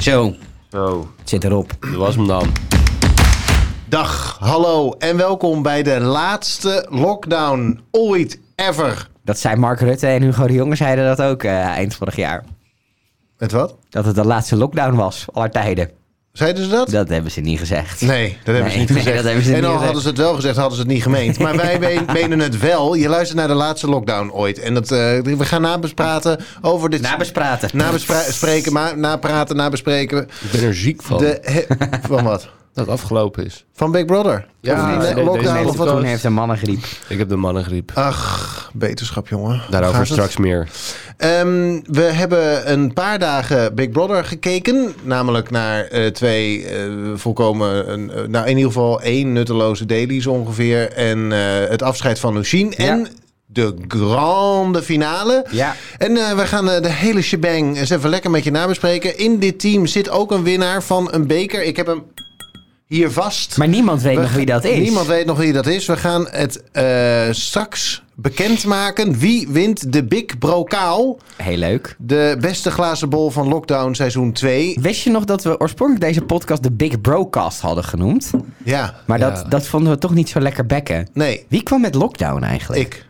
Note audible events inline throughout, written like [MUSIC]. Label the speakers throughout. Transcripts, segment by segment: Speaker 1: Zo,
Speaker 2: Zo,
Speaker 1: het zit erop.
Speaker 2: dat was hem dan.
Speaker 3: Dag, hallo en welkom bij de laatste lockdown ooit ever.
Speaker 1: Dat zei Mark Rutte en Hugo de Jonge zeiden dat ook eh, eind vorig jaar.
Speaker 3: Met wat?
Speaker 1: Dat het de laatste lockdown was, aller tijden.
Speaker 3: Zeiden ze dat?
Speaker 1: Dat hebben ze niet gezegd.
Speaker 3: Nee, dat hebben ze
Speaker 1: Nee,
Speaker 3: niet
Speaker 1: nee,
Speaker 3: gezegd.
Speaker 1: dat hebben ze
Speaker 3: en
Speaker 1: niet
Speaker 3: al
Speaker 1: gezegd.
Speaker 3: hadden ze het wel gezegd, hadden ze het niet gemeend. Maar
Speaker 1: [LAUGHS]
Speaker 3: wij me- menen het wel. Je luistert naar de laatste lockdown ooit. En dat, eh, we gaan nabespraten over dit...
Speaker 1: Nabespraten.
Speaker 3: Nabespreken, maar napraten, nabespreken.
Speaker 2: Ik ben er ziek van
Speaker 3: De, he- van wat?
Speaker 2: [LAUGHS] dat het afgelopen is.
Speaker 3: Van Big Brother?
Speaker 2: Ja,
Speaker 3: Of die
Speaker 2: nee,
Speaker 3: ne-
Speaker 2: nee,
Speaker 3: lockdown
Speaker 2: nee,
Speaker 3: of wat?
Speaker 2: nee.
Speaker 1: Toen heeft een mannengriep.
Speaker 2: Ik heb de mannengriep.
Speaker 3: Ach, beterschap jongen.
Speaker 2: Daarover
Speaker 3: Gaat het?
Speaker 2: straks meer.
Speaker 3: Ehm, we hebben een paar dagen Big Brother gekeken. Namelijk naar eh, twee eh, volkomen... een- eh, nou, in ieder geval één nutteloze dailies ongeveer. En eh, het afscheid van Lucien.
Speaker 1: Ja.
Speaker 3: En de grande finale.
Speaker 1: Ja.
Speaker 3: En eh, we gaan eh, de hele shebang eens even lekker met je nabespreken. In dit team zit ook een winnaar van een beker. Ik heb hem hier vast.
Speaker 1: Maar niemand weet nog
Speaker 3: We-
Speaker 1: wie dat is.
Speaker 3: Niemand weet nog wie dat is. We gaan het eh, straks bekendmaken. Wie wint de Big Brokaal?
Speaker 1: Heel leuk.
Speaker 3: De beste glazen bol van Lockdown seizoen 2.
Speaker 1: Wist je nog dat we oorspronkelijk deze podcast de Big Brocast hadden genoemd?
Speaker 3: Ja,
Speaker 1: Maar
Speaker 2: Ja.
Speaker 1: dat, dat vonden we toch niet zo lekker bekken.
Speaker 3: nee,
Speaker 1: Wie kwam met lockdown eigenlijk?
Speaker 3: ik.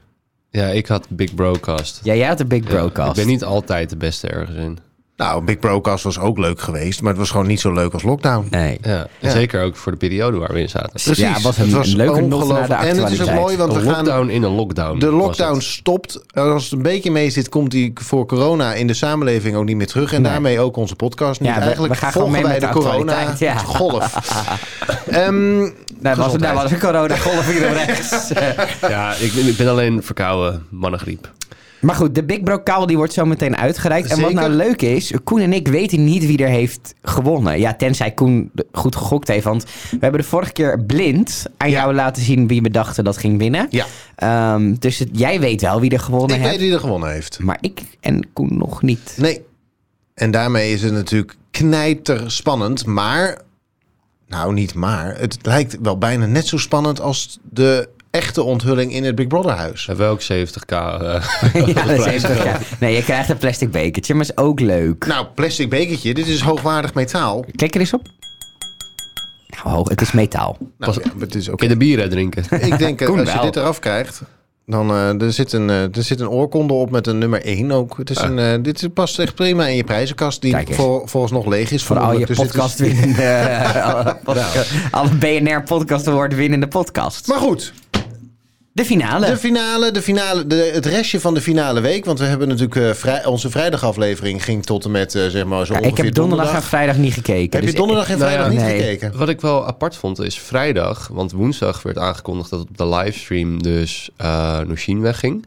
Speaker 2: Ja, ik had Big Brocast.
Speaker 1: Ja, jij had de Big
Speaker 2: Ja, ik
Speaker 1: Brocast.
Speaker 2: ben niet altijd de beste ergens in.
Speaker 3: Nou, Big Brocast was ook leuk geweest, maar het was gewoon niet zo leuk als Lockdown.
Speaker 1: Nee.
Speaker 2: Ja. En
Speaker 3: Ja.
Speaker 2: Zeker ook voor de periode waar we in zaten.
Speaker 3: Precies.
Speaker 1: Ja, het was een- een leuke not
Speaker 3: ongelooflijk.
Speaker 1: naar de
Speaker 3: En het is ook
Speaker 1: actualiteit.
Speaker 3: mooi, want we
Speaker 2: een
Speaker 3: gaan...
Speaker 2: lockdown in een lockdown.
Speaker 3: De
Speaker 2: was
Speaker 3: lockdown
Speaker 2: het.
Speaker 3: stopt. En Als het een beetje mee zit, komt die voor corona in de samenleving ook niet meer terug. En
Speaker 1: Nee.
Speaker 3: daarmee ook onze podcast niet.
Speaker 1: Ja, we-
Speaker 3: Eigenlijk
Speaker 1: we gaan
Speaker 3: volgen
Speaker 1: gewoon mee
Speaker 3: wij
Speaker 1: met
Speaker 3: de
Speaker 1: de actualiteit, [LAUGHS] ja.
Speaker 3: corona-golf.
Speaker 1: [LAUGHS]
Speaker 3: Ehm,
Speaker 1: Nou, dat was,
Speaker 3: Gezondheid.
Speaker 1: daar was een coronagolf hier op rechts.
Speaker 2: [LAUGHS] Ja, ik, ik ben alleen verkouden, mannengriep.
Speaker 1: maar goed, de Big Bro Kaal die wordt zo meteen uitgereikt. En wat
Speaker 3: Zeker.
Speaker 1: nou leuk is, Koen en ik weten niet wie er heeft gewonnen. Ja, tenzij Koen de- goed gegokt heeft. Want we hebben de vorige keer blind aan
Speaker 3: Ja.
Speaker 1: jou laten zien wie we dachten dat ging winnen.
Speaker 3: ja,
Speaker 1: Ehm, dus het- jij weet wel wie er gewonnen
Speaker 3: ik weet
Speaker 1: heeft.
Speaker 3: wie er gewonnen heeft.
Speaker 1: Maar ik en Koen nog niet.
Speaker 3: Nee. En daarmee is het natuurlijk knijter spannend, maar. Nou, niet maar. Het lijkt wel bijna net zo spannend als de echte onthulling in het Big Brother huis.
Speaker 2: Hebben we ook 70k. eh, [LAUGHS]
Speaker 1: [LAUGHS] ja, dat is even, ja. Nee, je krijgt een plastic bekertje, maar is ook leuk.
Speaker 3: Nou, plastic bekertje, dit is hoogwaardig metaal.
Speaker 1: Klik er eens op. Nou, hoog, het is metaal.
Speaker 3: Nou, ja, maar het is ook.
Speaker 2: kun je de bieren
Speaker 3: [LAUGHS]
Speaker 2: drinken?
Speaker 1: [LAUGHS]
Speaker 3: Ik denk, eh,
Speaker 1: Koen
Speaker 3: als je
Speaker 1: wel.
Speaker 3: dit eraf krijgt, dan eh, er zit, een, eh, er zit een oorkonde op met een nummer 1 ook. Het is een, eh, dit is- past echt prima in je prijzenkast, die
Speaker 1: Ah. Kijk eens.
Speaker 3: voor, volgens nog leeg is.
Speaker 1: Voor al je
Speaker 3: Dus dit is- [LAUGHS] Nou.
Speaker 1: podcast winnende... [LAUGHS] alle, podcast- alle BNR podcast award winnende podcast.
Speaker 3: Maar goed,
Speaker 1: De finale.
Speaker 3: De finale, de finale de, het restje van de finale week. Want we hebben natuurlijk eh, vrij, onze vrijdagaflevering ging tot en met eh, zeg maar zo
Speaker 1: Ja, ik
Speaker 3: ongeveer
Speaker 1: heb donderdag en vrijdag niet gekeken.
Speaker 3: Heb je
Speaker 1: dus
Speaker 3: donderdag en
Speaker 1: ik-
Speaker 3: vrijdag
Speaker 1: Nou ja,
Speaker 3: niet
Speaker 1: nee.
Speaker 3: gekeken?
Speaker 2: Wat ik wel apart vond is vrijdag, want woensdag werd aangekondigd dat op de livestream dus eh Nushin
Speaker 3: [LAUGHS]
Speaker 2: wegging.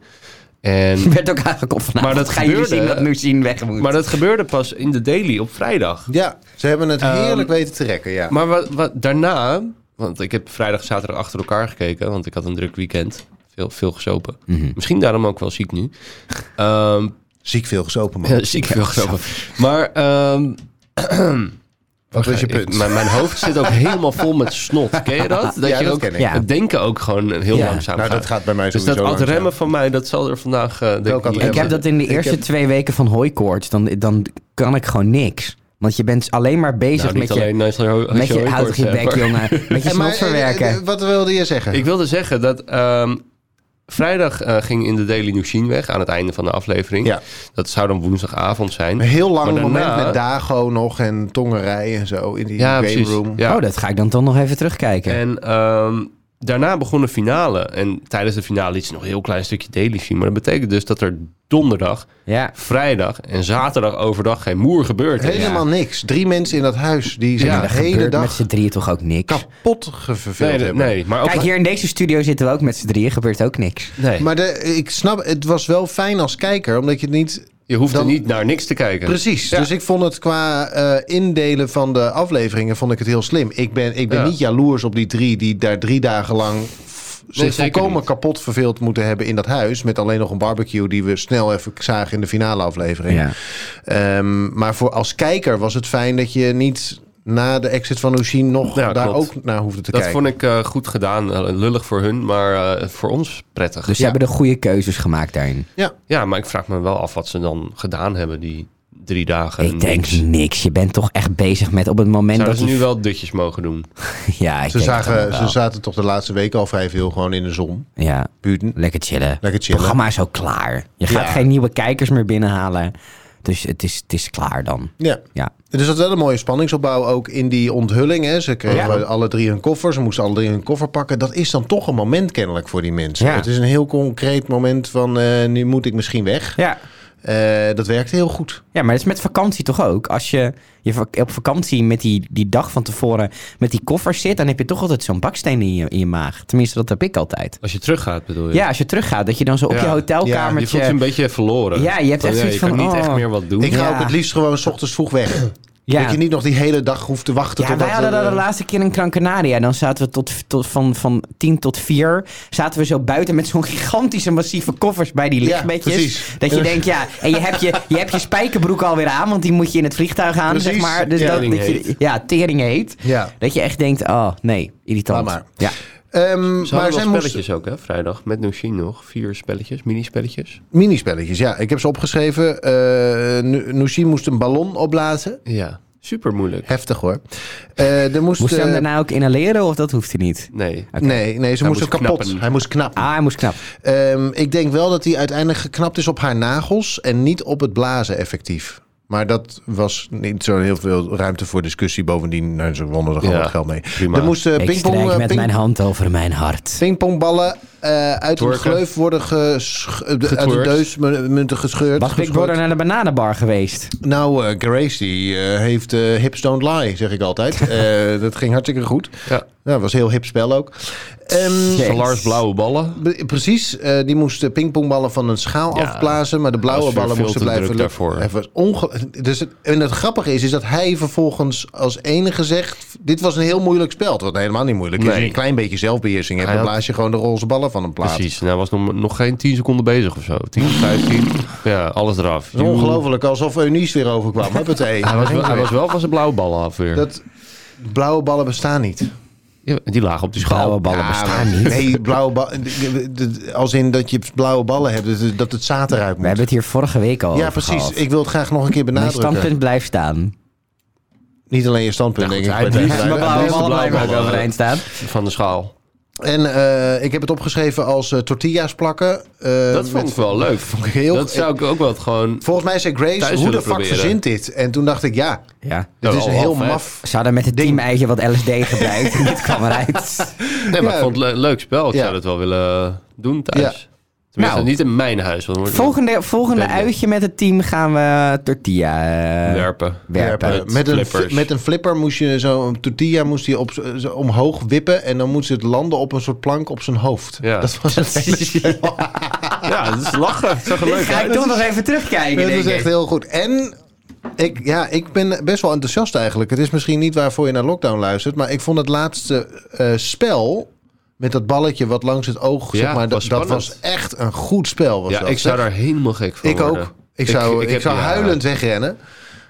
Speaker 2: En,
Speaker 1: werd ook aangekomen vanavond.
Speaker 2: Maar dat
Speaker 1: Gaan jullie
Speaker 2: gebeurde,
Speaker 1: zien dat
Speaker 2: hè?
Speaker 1: Nusien weg moet.
Speaker 2: maar dat gebeurde pas in de daily op vrijdag.
Speaker 3: Ja, ze hebben het
Speaker 2: Ehm,
Speaker 3: heerlijk weten te rekken, ja.
Speaker 2: Maar wat, wat daarna, want ik heb vrijdag en zaterdag achter elkaar gekeken, want ik had een druk weekend. Veel, veel gesopen.
Speaker 3: Mhm.
Speaker 2: Misschien daarom ook wel ziek nu. Ehm,
Speaker 3: Ziek veel gesopen, man.
Speaker 2: ja, [LAUGHS] ziek veel gesopen. Maar... ehm, [CLEARS THROAT]
Speaker 3: Wat was je
Speaker 2: ik-
Speaker 3: punt?
Speaker 2: mijn, mijn hoofd zit ook helemaal vol met snot. Ken je dat? Dat
Speaker 3: Ja,
Speaker 2: je
Speaker 3: dat
Speaker 2: ook
Speaker 3: ken ik.
Speaker 1: Ja.
Speaker 2: het denken ook gewoon heel
Speaker 1: Ja.
Speaker 2: langzaam
Speaker 3: nou, dat gaat bij mij
Speaker 2: Dus
Speaker 3: sowieso
Speaker 2: dat ad
Speaker 3: langzaam.
Speaker 2: remmen van mij, dat zal er vandaag... eh, denk
Speaker 3: Welk ad
Speaker 2: niet-
Speaker 1: Ik heb
Speaker 3: remmen?
Speaker 1: dat in de
Speaker 3: Ik
Speaker 1: eerste
Speaker 3: heb-
Speaker 1: twee weken van hooikoorts. Dan, dan kan ik gewoon niks. Want je bent alleen maar bezig
Speaker 2: Nou, niet
Speaker 1: met je...
Speaker 2: alleen als je, als
Speaker 1: Met je,
Speaker 2: hooikoorts
Speaker 1: houd toch je
Speaker 2: hebt,
Speaker 1: bek,
Speaker 2: maar-
Speaker 1: jongen.
Speaker 2: [LAUGHS]
Speaker 1: Met je
Speaker 3: En maar,
Speaker 1: snot
Speaker 3: eh, eh,
Speaker 1: verwerken.
Speaker 3: Wat wilde je zeggen?
Speaker 2: Ik wilde zeggen dat ehm, vrijdag eh, ging in de Daily Nushin weg aan het einde van de aflevering.
Speaker 3: Ja.
Speaker 2: Dat zou dan woensdagavond zijn.
Speaker 3: een heel lang
Speaker 2: Maar
Speaker 3: moment
Speaker 2: daarna-
Speaker 3: met Dago nog en tongerij en zo in die
Speaker 2: Ja,
Speaker 3: game
Speaker 2: precies.
Speaker 3: room.
Speaker 2: Ja.
Speaker 1: Oh, dat ga ik dan toch nog even terugkijken.
Speaker 2: En ehm, daarna begon de finale. En tijdens de finale liet ze nog een heel klein stukje Daily zien. Maar dat betekent dus dat er donderdag,
Speaker 1: ja.
Speaker 2: vrijdag en zaterdag overdag geen moer gebeurt. is.
Speaker 3: Helemaal niks. Drie mensen in dat huis die zijn
Speaker 2: Ja,
Speaker 3: de
Speaker 2: dat
Speaker 3: hele
Speaker 1: Gebeurt met
Speaker 3: dag
Speaker 1: z'n drieën toch ook niks?
Speaker 3: kapot geverveeld
Speaker 2: Nee, nee,
Speaker 3: hebben.
Speaker 2: nee, maar ook...
Speaker 1: Kijk, hier in deze studio zitten we ook met z'n drieën. Gebeurt ook niks.
Speaker 2: Nee,
Speaker 3: Maar de, ik snap, het was wel fijn als kijker, omdat je het niet
Speaker 2: je hoeft
Speaker 3: dan-
Speaker 2: er niet naar niks te kijken.
Speaker 3: Precies.
Speaker 2: Ja.
Speaker 3: Dus ik vond het qua eh, indelen van de afleveringen vond ik het heel slim. Ik ben, ik ben
Speaker 2: Ja.
Speaker 3: niet jaloers op die drie die daar drie dagen lang f- zich
Speaker 2: zeker
Speaker 3: volkomen
Speaker 2: niet.
Speaker 3: kapot verveeld moeten hebben in dat huis. Met alleen nog een barbecue die we snel even zagen in de finale aflevering. Ehm, maar voor als kijker was het fijn dat je niet na de exit van Oesien nog
Speaker 2: Ja,
Speaker 3: daar
Speaker 2: klopt.
Speaker 3: ook naar hoefde te
Speaker 2: Dat
Speaker 3: kijken.
Speaker 2: vond ik eh, goed gedaan. Eh, Lullig voor hun, maar eh, voor ons prettig.
Speaker 1: Dus ze
Speaker 3: Ja.
Speaker 1: hebben de goede keuzes gemaakt daarin.
Speaker 3: Ja.
Speaker 2: Ja, maar ik vraag me wel af wat ze dan gedaan hebben die drie dagen.
Speaker 1: Ik denk
Speaker 2: niks.
Speaker 1: Ehm, niks. Je bent toch echt bezig met op het moment
Speaker 2: Zouden
Speaker 1: dat
Speaker 2: ze
Speaker 1: je...
Speaker 2: nu wel dutjes mogen
Speaker 1: [LAUGHS] Ja,
Speaker 2: doen?
Speaker 1: ik
Speaker 3: Ze,
Speaker 1: denk het
Speaker 3: zagen,
Speaker 1: allemaal
Speaker 3: ze
Speaker 1: wel.
Speaker 3: zaten toch de laatste week al vrij veel gewoon in de zon.
Speaker 1: Ja,
Speaker 3: Buiten.
Speaker 1: lekker chillen.
Speaker 3: Lekker chillen.
Speaker 1: Het programma is ook klaar. Je gaat
Speaker 3: Ja.
Speaker 1: geen nieuwe kijkers meer binnenhalen. Dus het is, het is klaar dan.
Speaker 3: Ja.
Speaker 1: Ja.
Speaker 3: Er zat wel een mooie spanningsopbouw ook in die onthulling. Hè. Ze kregen
Speaker 1: Ja.
Speaker 3: alle drie hun koffer. Ze moesten alle drie hun koffer pakken. Dat is dan toch een moment kennelijk voor die mensen.
Speaker 1: Ja.
Speaker 3: Het is een heel concreet moment van eh, nu moet ik misschien weg.
Speaker 1: Ja.
Speaker 3: Eh, dat werkt heel goed.
Speaker 1: Ja, maar dat is met vakantie toch ook? Als je, je vak- op vakantie met die, die dag van tevoren met die koffers zit, dan heb je toch altijd zo'n baksteen in je, in je maag. Tenminste, dat heb ik altijd.
Speaker 2: Als je teruggaat bedoel je?
Speaker 1: Ja, als je teruggaat, dat je dan zo op
Speaker 2: Ja.
Speaker 1: je
Speaker 3: Ja,
Speaker 2: Je voelt je
Speaker 1: hotelkamertje...
Speaker 2: een beetje verloren.
Speaker 1: Ja, je hebt echt
Speaker 2: ja,
Speaker 1: zoiets
Speaker 2: kan
Speaker 1: van,
Speaker 2: niet
Speaker 1: oh.
Speaker 2: echt meer wat doen.
Speaker 3: Ik ga
Speaker 1: Ja.
Speaker 3: ook het liefst gewoon 's ochtends vroeg weg. Dat je niet nog die hele dag hoeft te wachten.
Speaker 1: Ja,
Speaker 3: totdat
Speaker 1: wij hadden
Speaker 3: er,
Speaker 1: dat de
Speaker 3: eh,
Speaker 1: laatste keer in Krankenaria. Dan zaten we tot, tot, van, van 10 tot 4. Zaten we zo buiten met zo'n gigantische massieve koffers bij die
Speaker 3: Ja,
Speaker 1: lichtbedjes.
Speaker 3: precies. Dus-
Speaker 1: dat je denkt, ja, en je hebt je, je hebt je spijkerbroek alweer aan, want die moet je in het vliegtuig aan,
Speaker 3: Precies,
Speaker 1: zeg maar. Dus dat, dat je,
Speaker 2: teringheet.
Speaker 1: ja, tering heet.
Speaker 3: Ja.
Speaker 1: Dat je echt denkt, oh nee, irritant.
Speaker 3: Laat maar.
Speaker 1: Ja.
Speaker 3: Ehm,
Speaker 2: Ze
Speaker 3: maar
Speaker 2: hadden
Speaker 3: zij
Speaker 2: wel
Speaker 3: moesten...
Speaker 2: spelletjes ook, hè? Vrijdag. Met Nushin nog. Vier spelletjes, minispelletjes.
Speaker 3: Minispelletjes, ja. Ik heb ze opgeschreven. Eh Nu- Nushi moest een ballon opblazen.
Speaker 2: Ja. Super moeilijk.
Speaker 3: Heftig hoor. Eh er moest...
Speaker 1: Moest hij
Speaker 3: eh,
Speaker 1: hem daarna ook inhaleren of dat hoeft hij niet?
Speaker 2: Nee.
Speaker 3: Nee, nee, ze moest hem
Speaker 2: moest
Speaker 3: kapot.
Speaker 2: knappen.
Speaker 3: Hij moest knappen.
Speaker 1: Ah, hij moest knap.
Speaker 3: Ehm, ik denk wel dat hij uiteindelijk geknapt is op haar nagels en niet op het blazen effectief. Maar dat was niet zo heel veel ruimte voor discussie. Bovendien, nou, ze wonnen er gewoon
Speaker 2: Ja,
Speaker 3: wat geld mee.
Speaker 2: prima.
Speaker 3: Er moesten
Speaker 1: Ik
Speaker 3: pingpong,
Speaker 1: strijk
Speaker 3: eh,
Speaker 1: met
Speaker 3: ping-
Speaker 1: mijn hand over mijn hart.
Speaker 3: pingpongballen eh, uit een
Speaker 2: Twerken.
Speaker 3: gleuf worden gesch- eh, de- uit de
Speaker 2: Getwerkt.
Speaker 3: deus mu- munten gescheurd.
Speaker 1: Was Big
Speaker 3: geschort.
Speaker 1: Brother naar de bananenbar geweest?
Speaker 3: Nou, eh, Grace die eh, heeft eh, hips don't lie, zeg ik
Speaker 2: [LAUGHS]
Speaker 3: altijd. Eh, dat ging hartstikke goed.
Speaker 2: Ja.
Speaker 3: Nou, was een heel hip spel ook. Ehm,
Speaker 1: Jezus.
Speaker 2: Lars blauwe ballen.
Speaker 3: Be- Precies, eh, die moesten pingpongballen van een schaal
Speaker 2: Ja,
Speaker 3: afblazen, maar de
Speaker 2: was
Speaker 3: blauwe
Speaker 2: weer
Speaker 3: ballen
Speaker 2: veel
Speaker 3: moesten
Speaker 2: te druk
Speaker 3: blijven lu-
Speaker 2: daarvoor.
Speaker 3: Hij was onge- dus het- en het grappige is, is dat hij vervolgens als enige zegt: Dit was een heel moeilijk spel. Wat helemaal niet moeilijk is.
Speaker 2: Nee.
Speaker 3: Als je een klein beetje zelfbeheersing hebt,
Speaker 2: Hij
Speaker 3: dan
Speaker 2: had-
Speaker 3: blaas je gewoon de roze ballen van een plaat.
Speaker 2: Precies. Nou, was nog, nog geen 10 seconden bezig of zo. 10, 15. Ja, alles eraf.
Speaker 3: Het is ongelooflijk, alsof Eunice weer overkwam. Huppatee.
Speaker 2: [LAUGHS] Hij was, wel, hij was wel van zijn blauwe ballen af weer.
Speaker 3: E. Dat blauwe ballen bestaan niet.
Speaker 2: Ja, die lagen op die schaal.
Speaker 1: Blauwe ballen
Speaker 3: Ja,
Speaker 1: bestaan
Speaker 3: maar-
Speaker 1: niet.
Speaker 3: Nee, blauwe ballen. Als in dat je blauwe ballen hebt, dus dat het zaad eruit
Speaker 1: We
Speaker 3: moet.
Speaker 1: hebben het hier vorige week al
Speaker 3: Ja,
Speaker 1: over
Speaker 3: precies.
Speaker 1: gehad.
Speaker 3: Ik wil het graag nog een keer
Speaker 1: Mijn
Speaker 3: benadrukken.
Speaker 1: standpunt blijft [LAUGHS] staan.
Speaker 3: Niet alleen je standpunt,
Speaker 2: Ja,
Speaker 3: denk
Speaker 2: goed,
Speaker 3: ik.
Speaker 2: hij
Speaker 3: maar
Speaker 2: heeft
Speaker 3: deze
Speaker 2: niet
Speaker 1: Mijn
Speaker 2: Mijn
Speaker 3: luiden.
Speaker 2: blauwe
Speaker 1: blauwe
Speaker 2: ballen
Speaker 1: ballen
Speaker 2: blijven
Speaker 1: blijven
Speaker 2: ook
Speaker 1: overeind
Speaker 2: overeind
Speaker 1: staan.
Speaker 2: Van de schaal.
Speaker 3: En eh, ik heb het opgeschreven als eh, tortillas plakken. Eh,
Speaker 2: Dat vond
Speaker 3: met-
Speaker 2: ik wel leuk.
Speaker 3: ik heel-
Speaker 2: Dat zou ik ook wel gewoon...
Speaker 3: Volgens mij zei Grace,
Speaker 2: Thuis
Speaker 3: hoe de
Speaker 2: willen
Speaker 3: fuck
Speaker 2: proberen.
Speaker 3: verzint dit? En toen dacht ik, ja,
Speaker 1: Ja.
Speaker 3: dit
Speaker 2: Oh,
Speaker 3: is een
Speaker 2: wel
Speaker 3: heel
Speaker 2: vet.
Speaker 3: maf...
Speaker 1: Ze hadden met het team-eitje wat LSD gebruikt [LAUGHS] en dit kwam eruit.
Speaker 2: Nee, maar
Speaker 3: Ja.
Speaker 2: ik vond het le- een leuk spel. Ik
Speaker 3: Ja.
Speaker 2: zou dat wel willen doen thuis.
Speaker 3: Ja.
Speaker 2: Tenminste,
Speaker 1: Nou.
Speaker 2: niet in mijn huis. Want dan wordt
Speaker 1: Volgende, volgende
Speaker 2: Ben je.
Speaker 1: uitje met het team gaan we tortilla eh,
Speaker 2: het werpen.
Speaker 1: werpen.
Speaker 2: Werpen.
Speaker 3: Met een,
Speaker 2: Flippers.
Speaker 3: met een flipper moest je zo'n tortilla moest je op, z- zo omhoog wippen. En dan moest het landen op een soort plank op zijn hoofd.
Speaker 2: Ja.
Speaker 3: Dat was
Speaker 2: [LAUGHS]
Speaker 3: het hele spel.
Speaker 2: Ja, dat is lachen. Dat zag er
Speaker 1: Dit
Speaker 2: leuk
Speaker 1: ga ik
Speaker 2: uit.
Speaker 1: toch nog even terugkijken,
Speaker 3: Dat
Speaker 1: denk
Speaker 3: is echt
Speaker 1: ik.
Speaker 3: heel goed. En ik, ja, ik ben best wel enthousiast eigenlijk. Het is misschien niet waarvoor je naar Lockdown luistert. Maar ik vond het laatste eh, spel met dat balletje wat langs het oog...
Speaker 2: Ja,
Speaker 3: zeg maar, dat,
Speaker 2: was
Speaker 3: dat
Speaker 2: spannend.
Speaker 3: was echt een goed spel. Was
Speaker 2: Ja,
Speaker 3: dat,
Speaker 2: ik zou
Speaker 3: zeg.
Speaker 2: daar helemaal gek van
Speaker 3: Ik
Speaker 2: worden.
Speaker 3: ook. Ik zou, ik
Speaker 2: heb-
Speaker 3: zou
Speaker 2: ja.
Speaker 3: huilend wegrennen.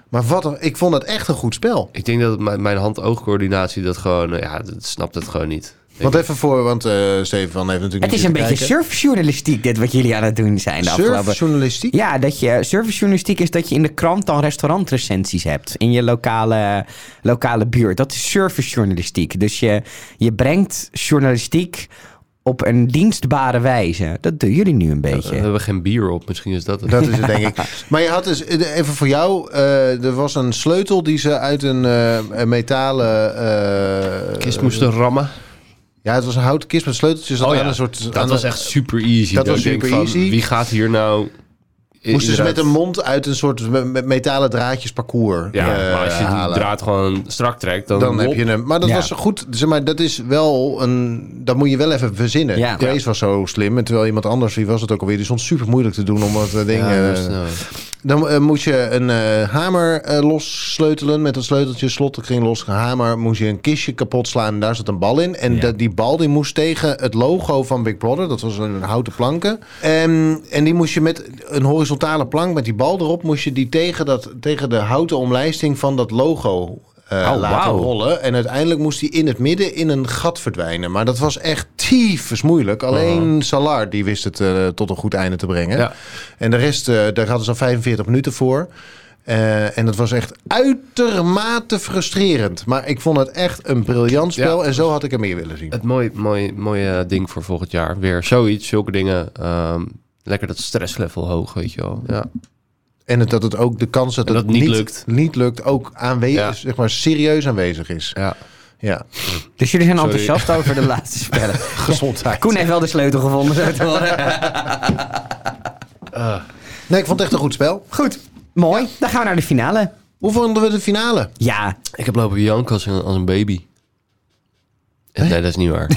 Speaker 3: Maar wat, een- ik vond het echt een goed spel.
Speaker 2: Ik denk dat mijn, mijn hand-oogcoördinatie dat gewoon... eh, Ja, dat snapt het gewoon niet. Ik-
Speaker 3: Want even voor, want eh Stefan heeft natuurlijk
Speaker 1: Het is
Speaker 3: niet
Speaker 1: een
Speaker 3: zitten
Speaker 1: beetje
Speaker 3: kijken.
Speaker 1: surfjournalistiek dit wat jullie aan het doen zijn de afgelopen...
Speaker 3: surfjournalistiek.
Speaker 1: Ja, dat je servicejournalistiek is dat je in de krant dan restaurantrecensies hebt in je lokale, lokale buurt. Dat is servicejournalistiek. Dus je, je brengt journalistiek op een dienstbare wijze. Dat doen jullie nu een
Speaker 2: We
Speaker 1: beetje.
Speaker 2: hebben geen bier op, misschien is dat het.
Speaker 3: Dat
Speaker 2: [LAUGHS]
Speaker 3: is het, denk ik. Maar je had dus, even voor jou, eh, er was een sleutel die ze uit een eh, een metalen... eh,
Speaker 2: Kist moesten rammen.
Speaker 3: Ja, het was een houten kist met sleuteltjes. Dat
Speaker 2: Oh ja,
Speaker 3: aan een soort, aan
Speaker 2: Dat
Speaker 3: een-
Speaker 2: was echt super easy.
Speaker 3: Dat was
Speaker 2: ik denk
Speaker 3: super
Speaker 2: van,
Speaker 3: easy.
Speaker 2: Wie gaat hier nou... i-
Speaker 3: Moesten ze
Speaker 2: inderdaad-
Speaker 3: met een mond uit een soort me- me- metalen draadjes parcours
Speaker 2: Ja,
Speaker 3: eh,
Speaker 2: maar als je die
Speaker 3: halen.
Speaker 2: draad gewoon strak trekt, dan,
Speaker 3: dan heb
Speaker 2: wop.
Speaker 3: je hem. Maar dat
Speaker 1: Ja.
Speaker 3: was goed. Zeg maar, dat is wel een. Dat moet je wel even verzinnen.
Speaker 1: Ja.
Speaker 3: Grace was zo slim. En terwijl iemand anders, wie was het ook alweer, die stond super moeilijk te doen om wat eh, dingen.
Speaker 2: Ja, dus,
Speaker 3: eh,
Speaker 2: nou,
Speaker 3: Dan eh, moest je een eh, hamer eh lossleutelen met een sleuteltje, slot, kring los, hamer. Moest je een kistje kapot slaan en daar zat een bal in. En
Speaker 1: Ja.
Speaker 3: dat, die bal die moest tegen het logo van Big Brother, dat was een houten planken. En, en die moest je met een horizontale plank met die bal erop, moest je die tegen, dat, tegen de houten omlijsting van dat logo eh,
Speaker 1: Oh,
Speaker 3: laten
Speaker 1: wauw.
Speaker 3: rollen. En uiteindelijk moest die in het midden in een gat verdwijnen. Maar dat was echt tyfus moeilijk. Alleen Salar die wist het eh, tot een goed einde te brengen.
Speaker 2: Mhm. Ja.
Speaker 3: En de rest, eh, daar hadden ze al 45 minuten voor. Eh, en dat was echt uitermate frustrerend. Maar ik vond het echt een briljant spel. en zo had ik er meer willen zien.
Speaker 2: Het mooi, mooi, mooie eh, ding voor volgend jaar. Weer zoiets, zulke dingen. ehm, lekker dat stresslevel hoog, weet je wel. Ja.
Speaker 3: En het, dat het ook de kans dat,
Speaker 2: En
Speaker 3: het
Speaker 2: dat het niet lukt.
Speaker 3: niet lukt ook aanwezig,
Speaker 2: Ja.
Speaker 3: zeg maar serieus aanwezig is.
Speaker 2: ja.
Speaker 3: Ja.
Speaker 1: Dus jullie zijn
Speaker 2: Sorry.
Speaker 1: enthousiast over de
Speaker 2: [LAUGHS]
Speaker 1: laatste spellen.
Speaker 3: Gezondheid.
Speaker 1: Koen heeft wel de sleutel gevonden. zo te horen.
Speaker 2: [LAUGHS]
Speaker 3: Nee, ik vond het echt een goed spel.
Speaker 1: Goed, mooi. Dan gaan we naar de finale.
Speaker 3: Hoe vonden we de finale?
Speaker 1: Ja,
Speaker 2: Ik heb lopen janken als een, als een baby. Eh, Nee, dat is niet
Speaker 1: [LAUGHS]
Speaker 2: waar.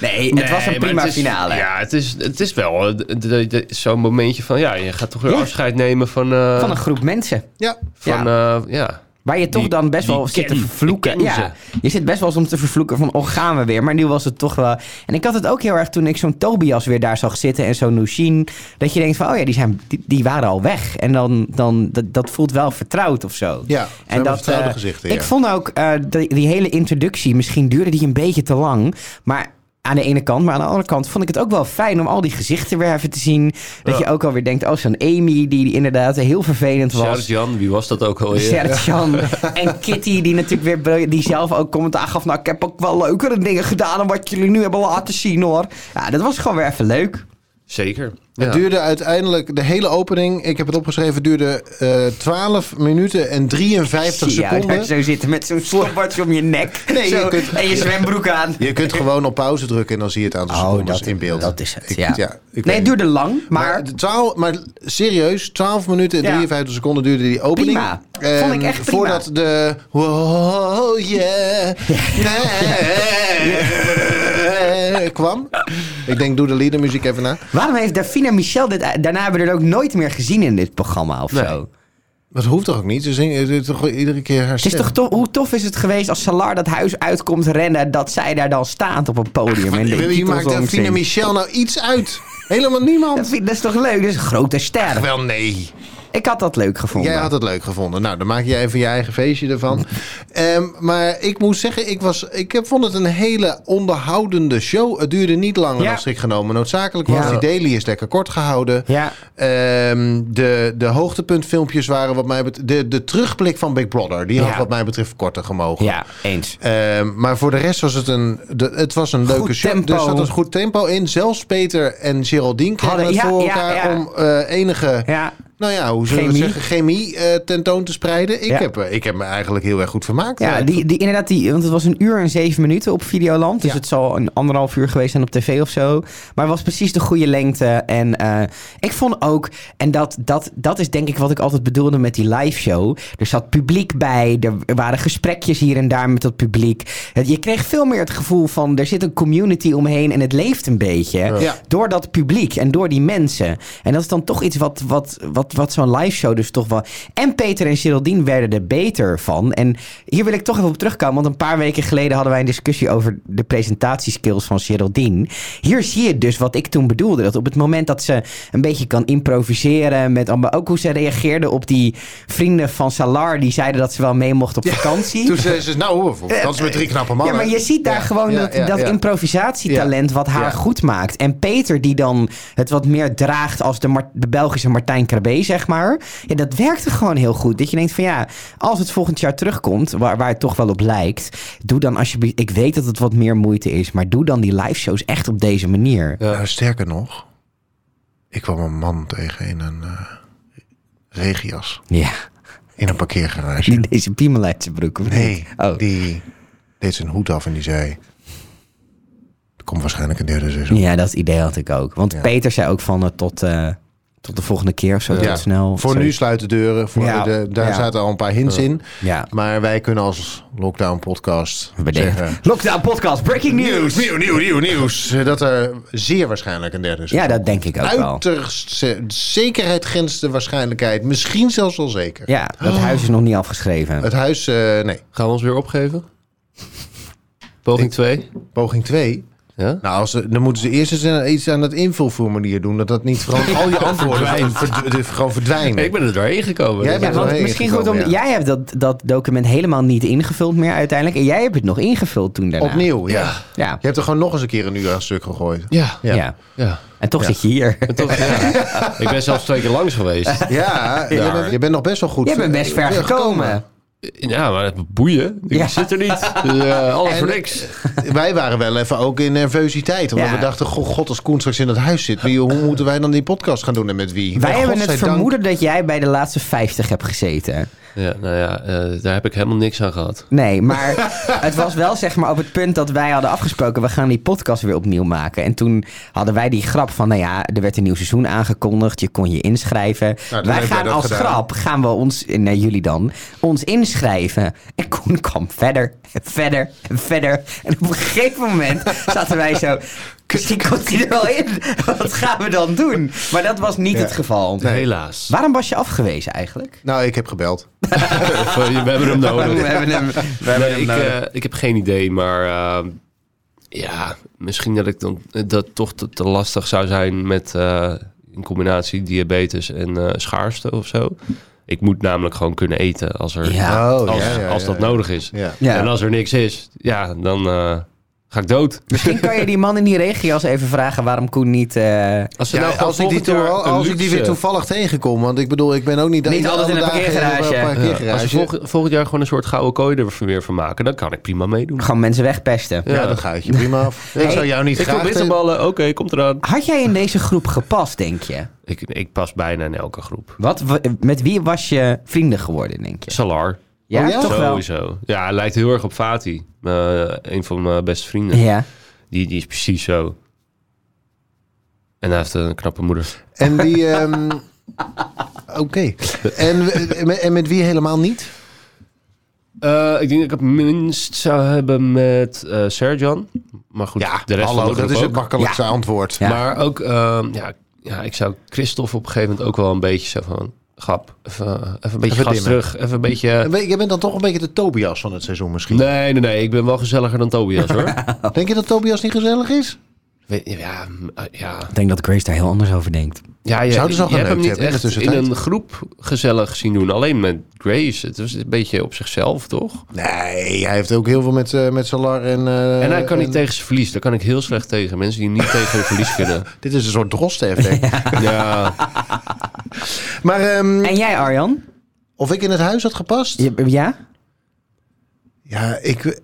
Speaker 1: nee, het was
Speaker 2: Nee,
Speaker 1: een
Speaker 2: maar
Speaker 1: prima
Speaker 2: het is-
Speaker 1: finale.
Speaker 2: Ja, het is, het is wel eh, de- de- de- zo'n momentje van... Ja, je gaat toch weer
Speaker 1: Ja.
Speaker 2: afscheid nemen van... eh,
Speaker 1: Van een groep mensen.
Speaker 3: Ja.
Speaker 2: van, eh, ja.
Speaker 1: Waar je toch
Speaker 2: Die-
Speaker 1: dan best
Speaker 2: die
Speaker 1: wel zit te
Speaker 2: ken-
Speaker 1: vervloeken.
Speaker 2: die ken
Speaker 1: Ja, je zit best wel eens om te vervloeken van, oh gaan we weer. Maar nu was het toch wel... En ik had het ook heel erg toen ik zo'n Tobias weer daar zag zitten en zo'n Nushin. Dat je denkt van, oh ja, die, zijn, die, die waren al weg. En dan, dan dat, dat voelt wel vertrouwd of zo.
Speaker 3: Ja, ze hebben vertrouwde
Speaker 1: eh,
Speaker 3: gezichten,
Speaker 1: Ik
Speaker 3: ja.
Speaker 1: vond ook eh, die, die hele introductie, misschien duurde die een beetje te lang. Maar aan de ene kant, maar aan de andere kant vond ik het ook wel fijn om al die gezichten weer even te zien. Dat je ook alweer denkt, oh zo'n Amy, die inderdaad heel vervelend was.
Speaker 2: Shout-out Jan, wie was dat ook
Speaker 3: Oh,
Speaker 2: alweer?
Speaker 1: Sertjan en Kitty, die natuurlijk weer briljant- die zelf ook commentaar gaf. Nou, ik heb ook wel leukere dingen gedaan dan wat jullie nu hebben laten zien hoor. Ja, dat was gewoon weer even leuk.
Speaker 2: [LAUGHS] Zeker.
Speaker 3: Het duurde uiteindelijk de hele opening. Ik heb het opgeschreven. duurde eh 12 minuten en 53
Speaker 1: Zie jou daar
Speaker 3: seconden.
Speaker 1: zo zitten met zo'n stopwatch om je nek
Speaker 3: Nee,
Speaker 1: Zo,
Speaker 3: je kunt-
Speaker 1: en je zwembroek aan.
Speaker 3: Je kunt gewoon op pauze drukken en dan zie je het aantal secondes Oh, in beeld.
Speaker 1: Oh, dat is het.
Speaker 3: Ik-
Speaker 1: ja.
Speaker 3: ja, ik weet
Speaker 1: nee, het
Speaker 3: niet.
Speaker 1: duurde lang, maar,
Speaker 3: Maar, de 12 maar serieus, 12 minuten en
Speaker 1: Ja.
Speaker 3: 53 seconden duurde die opening.
Speaker 1: Prima. Vond ik
Speaker 3: Ehm,
Speaker 1: echt prima.
Speaker 3: Voordat de... Oh yeah. nee, [LAUGHS] kwam. Ik denk, doe de liedermuziek even na.
Speaker 1: waarom heeft Davina Michel dit... Daarna hebben we er ook nooit meer gezien in dit programma of
Speaker 2: Nee.
Speaker 1: zo.
Speaker 3: Dat hoeft toch ook niet? Ze zingen ze toch iedere keer haar
Speaker 1: Het is
Speaker 3: stem.
Speaker 1: toch tof, hoe tof is het geweest als Salar dat huis uitkomt rennen... dat zij daar dan staat op een podium en de
Speaker 3: Wie maakt
Speaker 1: titelsong
Speaker 3: Davina
Speaker 1: zingt?
Speaker 3: Michel nou iets uit? Helemaal niemand.
Speaker 1: Dat, vind- dat is toch leuk? Dat is een grote ster.
Speaker 3: Wel nee.
Speaker 1: Ik had dat leuk gevonden.
Speaker 3: Jij had het leuk gevonden. Nou, dan maak je even je eigen feestje
Speaker 1: [LAUGHS]
Speaker 3: ervan. Ehm, maar ik moet zeggen, ik, was, ik heb- vond het een hele onderhoudende show. Het duurde niet langer
Speaker 1: Ja.
Speaker 3: dan strikt genomen. Noodzakelijk was
Speaker 1: Ja.
Speaker 3: die daily is lekker kort gehouden.
Speaker 1: Ja.
Speaker 3: Ehm, de, de hoogtepuntfilmpjes waren wat mij betreft... De, de terugblik van Big Brother, die had
Speaker 1: Ja.
Speaker 3: wat mij betreft korter gemogen.
Speaker 1: Ja, eens.
Speaker 3: Ehm, maar voor de rest was het een, de- het was een leuke show.
Speaker 1: tempo.
Speaker 3: Er zat een goed tempo in. Zelfs Peter en Geraldine kregen
Speaker 1: Hadden-
Speaker 3: het
Speaker 1: ja,
Speaker 3: voor
Speaker 1: ja,
Speaker 3: elkaar
Speaker 1: ja.
Speaker 3: om eh, enige
Speaker 1: Ja.
Speaker 3: nou ja, hoe zullen
Speaker 1: Chemie.
Speaker 3: we het zeggen, chemie eh, tentoon te spreiden. Ik,
Speaker 1: Ja.
Speaker 3: heb, eh, ik heb me eigenlijk heel erg goed vermaakt.
Speaker 1: Ja,
Speaker 3: Eh,
Speaker 1: die, die, inderdaad, die, want het was een uur en zeven minuten op Videoland. Dus
Speaker 3: Ja.
Speaker 1: het zal een anderhalf uur geweest zijn op tv of zo. Maar het was precies de goede lengte. En eh, ik vond ook, en dat, dat, dat is denk ik wat ik altijd bedoelde met die live show. Er zat publiek bij, er waren gesprekjes hier en daar met dat publiek. Het- Je kreeg veel meer het gevoel van, er zit een community omheen en het leeft een beetje.
Speaker 3: Ja.
Speaker 1: Door dat publiek en door die mensen. En dat is dan toch iets wat, wat, wat, wat zo'n live show dus toch wel. En Peter en Geraldine werden er beter van. En hier wil ik toch even op terugkomen. Want een paar weken geleden hadden wij een discussie over de presentatieskills van Geraldine. Hier zie je dus wat ik toen bedoelde. Dat op het moment dat ze een beetje kan improviseren. Met, maar ook hoe ze reageerde op die vrienden van Salar. Die zeiden dat ze wel mee mocht op vakantie.
Speaker 3: [LAUGHS] Toen zei ze, nou, dat is met drie knappe mannen.
Speaker 1: Eh, Ja, maar je ziet daar
Speaker 3: Ja,
Speaker 1: gewoon
Speaker 3: ja,
Speaker 1: dat,
Speaker 3: ja,
Speaker 1: dat
Speaker 3: ja.
Speaker 1: improvisatietalent wat haar
Speaker 3: Ja.
Speaker 1: goed maakt. En Peter die dan het wat meer draagt als de, Mar- de Belgische Martijn Krabbe, zeg maar. Ja, dat werkte gewoon heel goed. Dat je denkt van ja, als het volgend jaar terugkomt, waar, waar het toch wel op lijkt. Doe dan alsjeblieft, ik weet dat het wat meer moeite is, maar doe dan die live shows echt op deze manier.
Speaker 3: Nou, sterker nog, ik kwam een man tegen in een eh, regenjas.
Speaker 1: Ja,
Speaker 3: In een parkeergarage.
Speaker 1: niet deze piemel uit zijn broek. of
Speaker 3: Nee,
Speaker 1: niet? Oh.
Speaker 3: die deed zijn hoed af en die zei... Er komt waarschijnlijk een derde seizoen.
Speaker 1: Ja, dat idee had ik ook. Want
Speaker 3: Ja.
Speaker 1: Peter zei ook van eh, tot, eh, tot de volgende keer of zo,
Speaker 3: Ja.
Speaker 1: tot snel.
Speaker 3: Voor nu sluit de deuren. Voor
Speaker 1: Ja.
Speaker 3: de, daar
Speaker 1: Ja.
Speaker 3: zaten al een paar hints in.
Speaker 1: Ja.
Speaker 3: Maar wij kunnen als Lockdown Podcast zeggen...
Speaker 1: Bedenken. Lockdown podcast, breaking news.
Speaker 3: Nieuw, nieuw, nieuw nieuws. Dat er zeer waarschijnlijk een derde is.
Speaker 1: Ja, dat denk ik ook wel.
Speaker 3: Uiterst ze- zekerheid grenst de waarschijnlijkheid. Misschien zelfs wel zeker.
Speaker 1: Ja, dat huis is nog niet afgeschreven.
Speaker 3: Oh. Het huis, eh, nee.
Speaker 2: Gaan we ons weer opgeven? Poging 2?
Speaker 3: Poging 2.
Speaker 2: Ja?
Speaker 3: Nou, als ze, dan moeten ze eerst eens eh, iets aan het invulformulier doen. Dat dat niet gewoon al je antwoorden gewoon verd- eh, gewoon verdwijnen.
Speaker 2: Ik ben er doorheen gekomen.
Speaker 3: Jij
Speaker 2: Dat-
Speaker 1: Ja,
Speaker 3: bent-
Speaker 1: want
Speaker 3: heen
Speaker 1: misschien goed om.
Speaker 3: gekomen, ja.
Speaker 1: Jij hebt dat, dat document helemaal niet ingevuld meer uiteindelijk. En jij hebt het nog ingevuld toen daarna.
Speaker 3: Opnieuw, ja.
Speaker 1: Ja.
Speaker 3: Je hebt er gewoon nog eens een keer een uur aan stuk gegooid.
Speaker 2: Ja.
Speaker 1: Ja.
Speaker 3: Ja.
Speaker 2: Ja.
Speaker 1: En toch zit je hier.
Speaker 2: En toch, ja. Ik ben zelfs twee keer langs geweest.
Speaker 3: Ja, je
Speaker 2: Daar.
Speaker 3: bent, je bent nog best wel
Speaker 1: [LAUGHS]
Speaker 3: goed.
Speaker 1: Je bent best ver
Speaker 3: eh,
Speaker 1: gekomen.
Speaker 2: Ja, maar het boeien. Ik
Speaker 1: Ja.
Speaker 2: zit er
Speaker 1: [LAUGHS]
Speaker 2: niet. Dus, eh, alles
Speaker 3: En-
Speaker 2: voor niks.
Speaker 3: Wij waren wel even ook in nervositeit. Omdat
Speaker 1: Ja.
Speaker 3: we dachten, goh, god, als Koen straks in dat huis zit... Wie, hoe moeten wij dan die podcast gaan doen en met wie?
Speaker 1: Wij
Speaker 3: Nou,
Speaker 1: hebben het
Speaker 3: godzijdank.
Speaker 1: vermoeden dat jij bij de laatste 50 hebt gezeten.
Speaker 2: Ja, nou ja, eh, daar heb ik helemaal niks aan gehad.
Speaker 1: Nee, maar [LAUGHS] het was wel zeg maar op het punt dat wij hadden afgesproken... we gaan die podcast weer opnieuw maken. En toen hadden wij die grap van... nou ja, er werd een nieuw seizoen aangekondigd. Je kon je inschrijven.
Speaker 3: dan
Speaker 1: wij
Speaker 3: hebben wij
Speaker 1: gaan
Speaker 3: Nou, dat
Speaker 1: als
Speaker 3: gedaan.
Speaker 1: grap, gaan we ons... nee, jullie dan, ons inschrijven. En Koen kwam verder en verder en verder. En op een gegeven moment zaten wij
Speaker 3: [LAUGHS]
Speaker 1: zo... Misschien komt hij er wel in. Wat gaan we dan doen? Maar dat was niet
Speaker 3: Ja.
Speaker 1: het geval.
Speaker 2: Helaas.
Speaker 1: Waarom was je afgewezen eigenlijk?
Speaker 3: Nou, ik heb gebeld.
Speaker 2: Of, eh, we [LAUGHS] hebben hem
Speaker 1: Waarom
Speaker 2: nodig.
Speaker 1: hebben we hem...
Speaker 2: Nee, ik, eh, ik heb geen idee, maar eh, ja, misschien dat ik dan eh, dat toch te, te lastig zou zijn met eh in combinatie diabetes en eh, schaarste of zo. Ik moet namelijk gewoon kunnen eten als er
Speaker 1: Ja.
Speaker 3: oh,
Speaker 2: als,
Speaker 3: ja, ja,
Speaker 2: als dat
Speaker 3: ja,
Speaker 2: nodig is.
Speaker 3: Ja.
Speaker 1: Ja.
Speaker 2: En als er niks is, ja, dan eh, ga ik dood.
Speaker 1: Misschien kan je die man in die regio's even vragen waarom Koen niet... eh,
Speaker 2: Als,
Speaker 3: Ja, Nou, als, ik die, toe- als ik die weer toevallig tegenkom, want ik bedoel, ik ben ook niet...
Speaker 1: Niet
Speaker 3: ik-
Speaker 1: alles in
Speaker 3: alle
Speaker 1: een
Speaker 3: dagen
Speaker 1: parkeergarage.
Speaker 3: eh, een
Speaker 2: als we
Speaker 3: parkeergarage.
Speaker 2: volgend, volgend jaar gewoon een soort gouden kooi er weer van maken, dan kan ik prima meedoen.
Speaker 1: gewoon mensen wegpesten.
Speaker 3: Ja, dat gaat je
Speaker 1: [LAUGHS]
Speaker 3: prima af. Ik zou jou niet
Speaker 2: Ik wil
Speaker 3: graag... tegen-
Speaker 2: bitterballen, oké, komt eraan.
Speaker 1: Had jij in deze groep gepast, denk je?
Speaker 2: Ik, ik pas bijna in elke groep.
Speaker 1: Wat, wa- met wie was je vrienden geworden, denk je?
Speaker 2: Salar.
Speaker 1: Ja,
Speaker 3: Oh ja?
Speaker 1: toch wel.
Speaker 2: Sowieso. Ja, hij lijkt heel erg op Fati. eh, een van mijn beste vrienden.
Speaker 1: Ja.
Speaker 2: Die, die is precies zo. En hij heeft een knappe moeder.
Speaker 3: En die... ehm, [LAUGHS] Oké. En, we- en met wie helemaal niet?
Speaker 2: Eh, ik denk dat ik het minst zou hebben met eh Serjan. Maar goed, de rest van de groep
Speaker 3: dat is het
Speaker 2: ook.
Speaker 3: makkelijkste
Speaker 1: Ja.
Speaker 3: antwoord.
Speaker 1: Ja.
Speaker 2: Maar ook, ehm, ja, ja, ik zou Christophe op een gegeven moment ook wel een beetje zo van... Grap, even, even een beetje
Speaker 3: Even
Speaker 2: gas
Speaker 3: dimmen.
Speaker 2: terug. Even een beetje...
Speaker 3: En ben- Jij bent dan toch een beetje de Tobias van het seizoen misschien.
Speaker 2: Nee, nee, nee. Ik ben wel gezelliger dan Tobias, hoor.
Speaker 3: Denk je dat Tobias niet gezellig is?
Speaker 2: Weet- ja, m- ah, ja,
Speaker 1: Ik denk dat Grace daar heel anders over denkt.
Speaker 2: Ja, je,
Speaker 3: Zouden ze al
Speaker 2: je hebt hem
Speaker 3: geneukt
Speaker 2: niet
Speaker 3: hebben in de
Speaker 2: echt in
Speaker 3: tussentijd?
Speaker 2: een groep gezellig zien doen. Alleen met Grace. Het was een beetje op zichzelf, toch?
Speaker 3: Nee, hij heeft ook heel veel met, eh, met Salar en... eh,
Speaker 2: en hij kan niet
Speaker 3: en-
Speaker 2: tegen zijn verlies. Daar kan ik heel slecht tegen. Mensen die niet tegen hun verlies kunnen.
Speaker 3: Dit is een soort droste-effect.
Speaker 2: [LAUGHS] Ja.
Speaker 3: [LAUGHS] Maar ehm,
Speaker 1: En jij, Arjan?
Speaker 3: of ik in het huis had gepast?
Speaker 1: Je- ja?
Speaker 3: Ja, ik,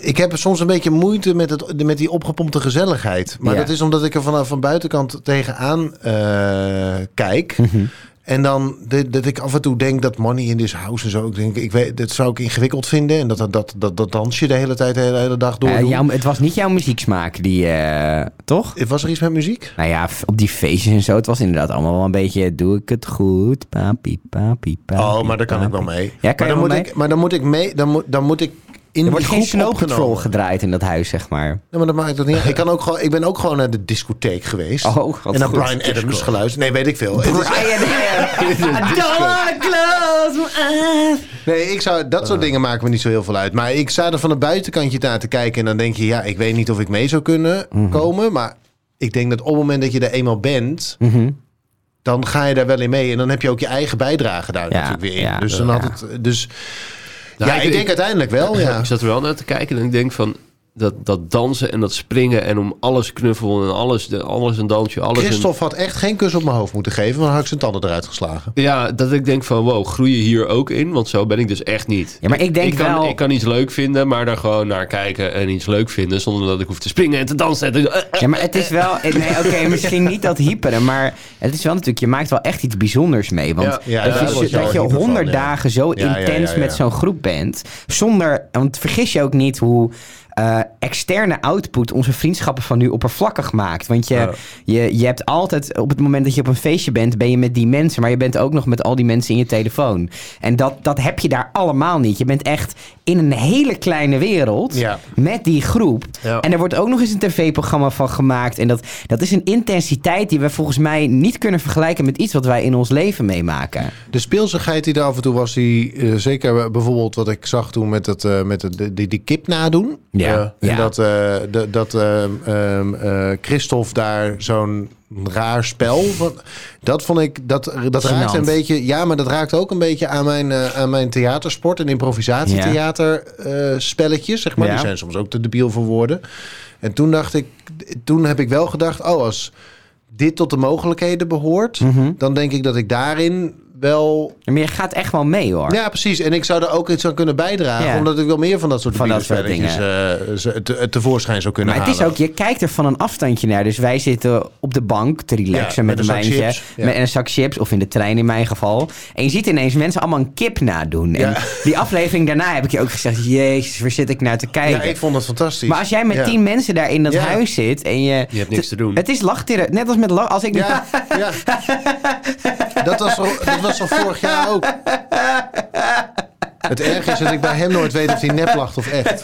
Speaker 3: ik heb soms een beetje moeite met, het, met die opgepompte gezelligheid. Maar
Speaker 1: Ja.
Speaker 3: dat is omdat ik er vanaf van buitenkant tegenaan eh, kijk.
Speaker 1: Mhm.
Speaker 3: En dan de- dat ik af en toe denk dat money in this house en zo. Ik denk, ik weet, dat zou ik ingewikkeld vinden. En dat, dat, dat, dat, dat dansje de hele tijd, de hele, hele dag door.
Speaker 1: Eh,
Speaker 3: doen.
Speaker 1: jouw- het was niet jouw muzieksmaak, die, eh, toch?
Speaker 3: Was er iets met muziek?
Speaker 1: Nou ja, f- op die feestjes en zo, het was inderdaad allemaal wel een beetje... Doe ik het goed? Papi, papi, papi.
Speaker 3: Oh, maar daar kan ik wel
Speaker 1: papi.
Speaker 3: mee.
Speaker 1: Ja, kan
Speaker 3: maar,
Speaker 1: je
Speaker 3: dan
Speaker 1: wel
Speaker 3: moet
Speaker 1: mee?
Speaker 3: Ik, maar dan moet ik mee. Dan moet, dan moet ik
Speaker 1: Er
Speaker 3: in die
Speaker 1: wordt geen
Speaker 3: groep
Speaker 1: Snow Patrol
Speaker 3: opgenomen.
Speaker 1: gedraaid in dat huis, zeg maar.
Speaker 3: Nee, maar dat maakt toch niet. uit. Ik, kan ook gewoon, ik ben ook gewoon naar de discotheek geweest.
Speaker 1: Oh, wat
Speaker 3: en naar
Speaker 1: goed.
Speaker 3: Brian Adams geluisterd. Nee, weet ik veel. Het is-
Speaker 1: Brian [LAUGHS] Adams. I don't wanna close my eyes.
Speaker 3: Nee, ik zou, dat
Speaker 1: Eh.
Speaker 3: soort dingen maken me niet zo heel veel uit. Maar ik sta er van een buitenkantje naar te kijken. En dan denk je, ja, ik weet niet of ik mee zou kunnen
Speaker 1: Mhm.
Speaker 3: komen. Maar ik denk dat op het moment dat je er eenmaal bent,
Speaker 1: Mhm.
Speaker 3: dan ga je daar wel in mee. En dan heb je ook je eigen bijdrage daar
Speaker 1: Ja,
Speaker 3: natuurlijk weer in.
Speaker 1: ja,
Speaker 3: dus dan
Speaker 1: ja.
Speaker 3: had het. Dus, [LAUGHS]
Speaker 2: Nou,
Speaker 3: ja, ik, denk uiteindelijk wel. Ja.
Speaker 2: Ik zat er wel naar te kijken en ik denk van... Dat, dat dansen en dat springen en om alles knuffelen en alles, de, alles een dansje, alles een-
Speaker 3: Christophe had echt geen kus op mijn hoofd moeten geven, want dan had ik zijn tanden eruit geslagen.
Speaker 2: Ja, dat ik denk van wow, groei je hier ook in? Want zo ben ik dus echt niet.
Speaker 1: Ja, maar ik denk
Speaker 2: ik kan,
Speaker 1: wel-
Speaker 2: Ik kan iets leuk vinden, maar daar gewoon naar kijken en iets leuk vinden... zonder dat ik hoef te springen en te dansen. En te- eh, eh.
Speaker 1: Ja, maar het is [LAUGHS] wel... Nee, oké, misschien niet dat hyperen, maar het is wel natuurlijk... Je maakt wel echt iets bijzonders mee, want...
Speaker 2: Ja,
Speaker 3: Ja,
Speaker 1: dat
Speaker 3: daar
Speaker 1: je,
Speaker 3: word je al
Speaker 1: dat je
Speaker 3: hyper van,
Speaker 1: honderd
Speaker 3: ja.
Speaker 1: dagen zo
Speaker 3: Ja, ja, ja,
Speaker 1: intens
Speaker 3: ja.
Speaker 1: met zo'n groep bent. Zonder, want vergis je ook niet hoe eh, externe output onze vriendschappen van nu oppervlakkig maakt. Want je,
Speaker 2: Ja.
Speaker 1: je, je hebt altijd, op het moment dat je op een feestje bent, ben je met die mensen. Maar je bent ook nog met al die mensen in je telefoon. En dat, dat heb je daar allemaal niet. Je bent echt in een hele kleine wereld
Speaker 3: Ja.
Speaker 1: met die groep.
Speaker 2: Ja.
Speaker 1: En er wordt ook nog eens een tv-programma van gemaakt. En dat, dat is een intensiteit die we volgens mij niet kunnen vergelijken met iets wat wij in ons leven meemaken.
Speaker 3: De speelsigheid die er af en toe was, die eh, zeker bijvoorbeeld wat ik zag toen met, dat, eh, met dat- de, die, die kip nadoen.
Speaker 1: Ja.
Speaker 3: Eh,
Speaker 1: Ja.
Speaker 3: En dat, eh, de- dat ehm, ehm, eh, Christophe daar zo'n raar spel van. Dat vond ik, dat, dat raakte
Speaker 1: Gênant.
Speaker 3: een beetje, ja, maar dat raakte ook een beetje aan mijn, eh, aan mijn theatersport en improvisatietheater eh, spelletjes, zeg maar.
Speaker 1: Ja.
Speaker 3: Die zijn soms ook te debiel voor woorden. En toen dacht ik, toen heb ik wel gedacht, oh, als dit tot de mogelijkheden behoort,
Speaker 1: Mhm.
Speaker 3: dan denk ik dat ik daarin wel.
Speaker 1: Maar je gaat echt wel mee hoor.
Speaker 3: Ja, precies. En ik zou er ook iets aan kunnen bijdragen,
Speaker 1: Ja.
Speaker 3: omdat ik wel meer van dat soort
Speaker 1: Van dat soort
Speaker 3: virusspelletjes, eh, ze- te, tevoorschijn zou kunnen
Speaker 1: Maar het is
Speaker 3: halen.
Speaker 1: ook, je kijkt er van een afstandje naar. Dus wij zitten op de bank te relaxen
Speaker 3: Ja,
Speaker 1: met,
Speaker 3: met
Speaker 1: een
Speaker 3: een zak
Speaker 1: wijntje.
Speaker 3: chips. Ja.
Speaker 1: Met een zak chips, of in de trein in mijn geval. En je ziet ineens mensen allemaal een kip nadoen. En
Speaker 3: Ja.
Speaker 1: die aflevering daarna heb ik je ook gezegd... Jezus, waar zit ik naar te
Speaker 3: Ja,
Speaker 1: kijken?
Speaker 3: ik vond het fantastisch.
Speaker 1: maar als jij met
Speaker 3: Ja.
Speaker 1: tien mensen daar in dat
Speaker 3: Ja.
Speaker 1: huis zit en je...
Speaker 2: Je hebt niks te doen.
Speaker 1: Het is lachtherapie. Net als met lach. Als ik
Speaker 3: Ja, ja. Dat, was al, dat was al vorig jaar ook. Het erg is dat ik bij hem nooit weet of hij nep lacht of echt.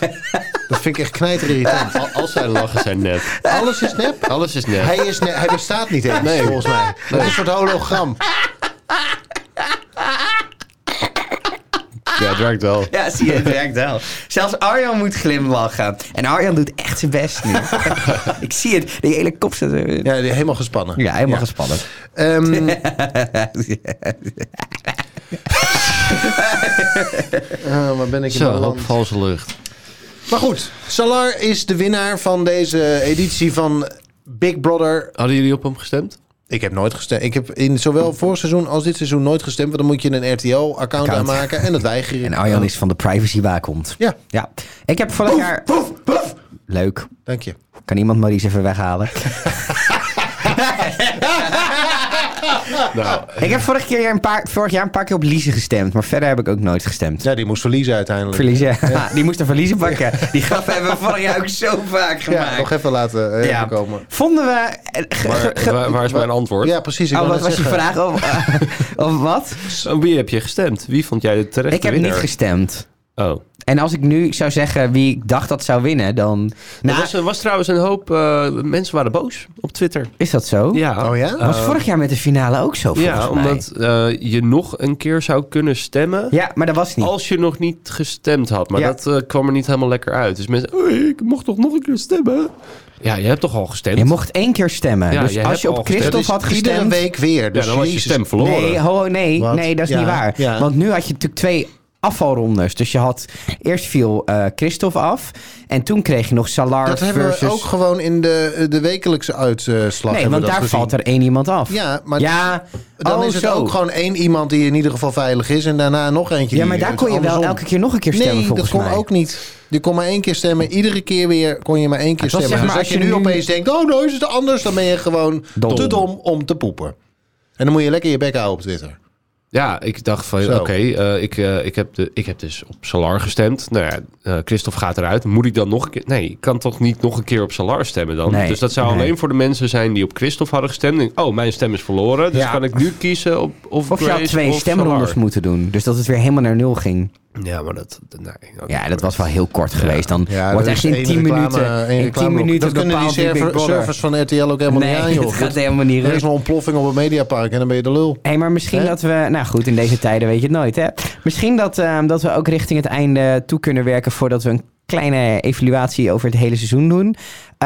Speaker 3: Dat vind ik echt knijterirritant.
Speaker 2: Al, al zijn lachen zijn nep.
Speaker 3: Alles is nep.
Speaker 2: Alles is nep.
Speaker 3: Hij, is nep. hij bestaat niet eens,
Speaker 2: Nee.
Speaker 3: volgens mij. Het is een soort hologram.
Speaker 2: Ja, het werkt wel.
Speaker 1: [LAUGHS] Ja, zie je, het werkt wel. Zelfs Arjan moet glimlachen. En Arjan doet echt zijn best
Speaker 3: [LAUGHS]
Speaker 1: nu. ik zie het. Die hele kop zit... er-
Speaker 3: Ja, die- helemaal gespannen.
Speaker 1: Ja, helemaal gespannen.
Speaker 2: [LAUGHS]
Speaker 3: Ehm, eh, waar ben ik in
Speaker 2: Zo, een
Speaker 3: beland?
Speaker 2: hoop valse lucht.
Speaker 3: Maar goed, Salar is de winnaar van deze editie van Big Brother
Speaker 2: Hadden jullie op hem gestemd?
Speaker 3: Ik heb nooit gestemd. Ik heb in
Speaker 2: [LAUGHS]
Speaker 3: zowel vorig seizoen als dit seizoen nooit gestemd. Want dan moet je een RTL-account
Speaker 1: Account.
Speaker 3: aanmaken en dat weiger je.
Speaker 1: En Arjan is van de privacywaakond.
Speaker 3: Ja,
Speaker 1: Ja, ik heb
Speaker 3: Oh.
Speaker 1: vorig jaar... Leuk.
Speaker 3: dank je.
Speaker 1: Kan iemand Maurice even weghalen?
Speaker 2: Nou,
Speaker 1: ik heb vorig, keer een paar, vorig jaar een paar keer op Lize gestemd. Maar verder heb ik ook nooit gestemd.
Speaker 3: Ja, die moest verliezen uiteindelijk.
Speaker 1: Verliezen. [LAUGHS] Die moest een verliezen pakken. Die grap hebben we vorig jaar ook zo vaak
Speaker 3: Ja,
Speaker 1: gemaakt.
Speaker 3: nog even laten eh,
Speaker 1: Ja.
Speaker 3: even komen.
Speaker 1: Vonden we... eh, ge- ge- [LAUGHS] ge-
Speaker 2: waar, waar is mijn antwoord?
Speaker 3: Ja, precies. Ik
Speaker 1: oh,
Speaker 3: wou
Speaker 1: wat
Speaker 3: net
Speaker 1: was je
Speaker 3: nou zeggen.
Speaker 1: vraag? Of, eh, of wat?
Speaker 2: Aan Wie heb je gestemd? Wie vond jij de terechte
Speaker 1: Ik heb niet
Speaker 2: winnaar?
Speaker 1: gestemd.
Speaker 2: Oh.
Speaker 1: En als ik nu zou zeggen wie ik dacht dat zou winnen, dan... Nou,
Speaker 2: er was, er was trouwens een hoop... eh, mensen waren boos op Twitter.
Speaker 1: is dat zo?
Speaker 2: Ja.
Speaker 3: Oh ja?
Speaker 1: Was vorig jaar met de finale ook zo, volgens
Speaker 2: ja,
Speaker 1: mij.
Speaker 2: omdat eh, je nog een keer zou kunnen stemmen...
Speaker 1: Ja, maar dat was niet.
Speaker 2: Als je nog niet gestemd had. Maar
Speaker 1: Ja.
Speaker 2: dat eh, kwam er niet helemaal lekker uit. Dus mensen... "Oei, ik mocht toch nog een keer stemmen? Ja, je hebt toch al gestemd?
Speaker 1: Je mocht één keer stemmen.
Speaker 2: Ja,
Speaker 1: dus
Speaker 2: je
Speaker 1: als
Speaker 2: hebt
Speaker 1: je
Speaker 2: al
Speaker 1: op
Speaker 2: gestemd.
Speaker 1: Christophe
Speaker 3: Dat
Speaker 1: had
Speaker 3: is iedere
Speaker 1: gestemd...
Speaker 3: week weer. Dus
Speaker 2: ja, dan was je
Speaker 3: Jezus.
Speaker 2: stem verloren.
Speaker 1: Nee, ho, nee,
Speaker 3: Wat?
Speaker 1: nee, dat is
Speaker 3: Ja,
Speaker 1: niet waar.
Speaker 3: ja.
Speaker 1: Want nu had je natuurlijk twee afvalrondes. Dus je had... Eerst viel eh Christophe af. En toen kreeg je nog Salar
Speaker 3: Dat hebben
Speaker 1: versus...
Speaker 3: we ook gewoon in de, de wekelijkse uitslag.
Speaker 1: nee,
Speaker 3: hebben
Speaker 1: want
Speaker 3: we dat
Speaker 1: daar
Speaker 3: gezien.
Speaker 1: valt er één iemand af.
Speaker 3: Ja, maar
Speaker 1: ja
Speaker 3: dan
Speaker 1: oh,
Speaker 3: is het
Speaker 1: zo.
Speaker 3: ook gewoon één iemand die in ieder geval veilig is. En daarna nog eentje.
Speaker 1: Ja,
Speaker 3: die-
Speaker 1: maar daar
Speaker 3: het
Speaker 1: kon je wel
Speaker 3: andersom.
Speaker 1: elke keer nog een keer stemmen,
Speaker 3: nee, dat
Speaker 1: volgens
Speaker 3: kon
Speaker 1: mij.
Speaker 3: ook niet. Je kon maar één keer stemmen. Iedere keer weer kon je maar één keer
Speaker 1: Het was
Speaker 3: stemmen.
Speaker 1: Ah, zeg maar
Speaker 3: dus
Speaker 1: als
Speaker 3: als je
Speaker 1: je
Speaker 3: nu
Speaker 1: nu-
Speaker 3: opeens denkt, oh, nou is het anders. Dan ben je gewoon
Speaker 1: Dom.
Speaker 3: te dom om te poepen. En dan moet je lekker je bek houden op Twitter.
Speaker 2: Ja, ik dacht van
Speaker 3: Zo.
Speaker 2: oké, eh, ik, eh, ik, heb de- ik heb dus op Salar gestemd. Nou ja, eh, Christophe gaat eruit. Moet ik dan nog een keer? Nee, ik kan toch niet nog een keer op Salar stemmen dan?
Speaker 1: Nee,
Speaker 2: dus dat zou
Speaker 1: nee.
Speaker 2: alleen voor de mensen zijn die op Christophe hadden gestemd. Denk, oh, mijn stem is verloren. Dus
Speaker 1: Ja.
Speaker 2: kan ik nu kiezen op of,
Speaker 1: Of je had
Speaker 2: Grace
Speaker 1: twee
Speaker 2: of
Speaker 1: stemrondes
Speaker 2: Salar?
Speaker 1: moeten doen. Dus dat het weer helemaal naar nul ging.
Speaker 2: Ja, maar dat... dat- Nee,
Speaker 1: Ja, dat was wel heel kort geweest. Dan
Speaker 3: Ja,
Speaker 1: wordt
Speaker 3: dat
Speaker 1: echt
Speaker 3: is
Speaker 1: in
Speaker 3: één
Speaker 1: 10
Speaker 3: reclame-
Speaker 1: minuten,
Speaker 3: één
Speaker 1: in
Speaker 3: reclame
Speaker 1: 10
Speaker 3: blok.
Speaker 1: minuten
Speaker 3: Dat kunnen die
Speaker 1: bepaald wie Big
Speaker 3: server,
Speaker 1: Brother-
Speaker 3: servers van RTL ook helemaal
Speaker 1: nee,
Speaker 3: niet
Speaker 1: [LAUGHS]
Speaker 3: aan, joh.
Speaker 1: dat gaat helemaal niet
Speaker 3: Er is
Speaker 1: rust.
Speaker 3: een ontploffing op een mediapark en dan ben je de lul.
Speaker 1: Hé, maar misschien
Speaker 3: Hè?
Speaker 1: dat we... Nou goed, in deze tijden weet je het nooit, hè? Misschien dat, ehm, dat we ook richting het einde toe kunnen werken... voordat we een kleine evaluatie over het hele seizoen doen.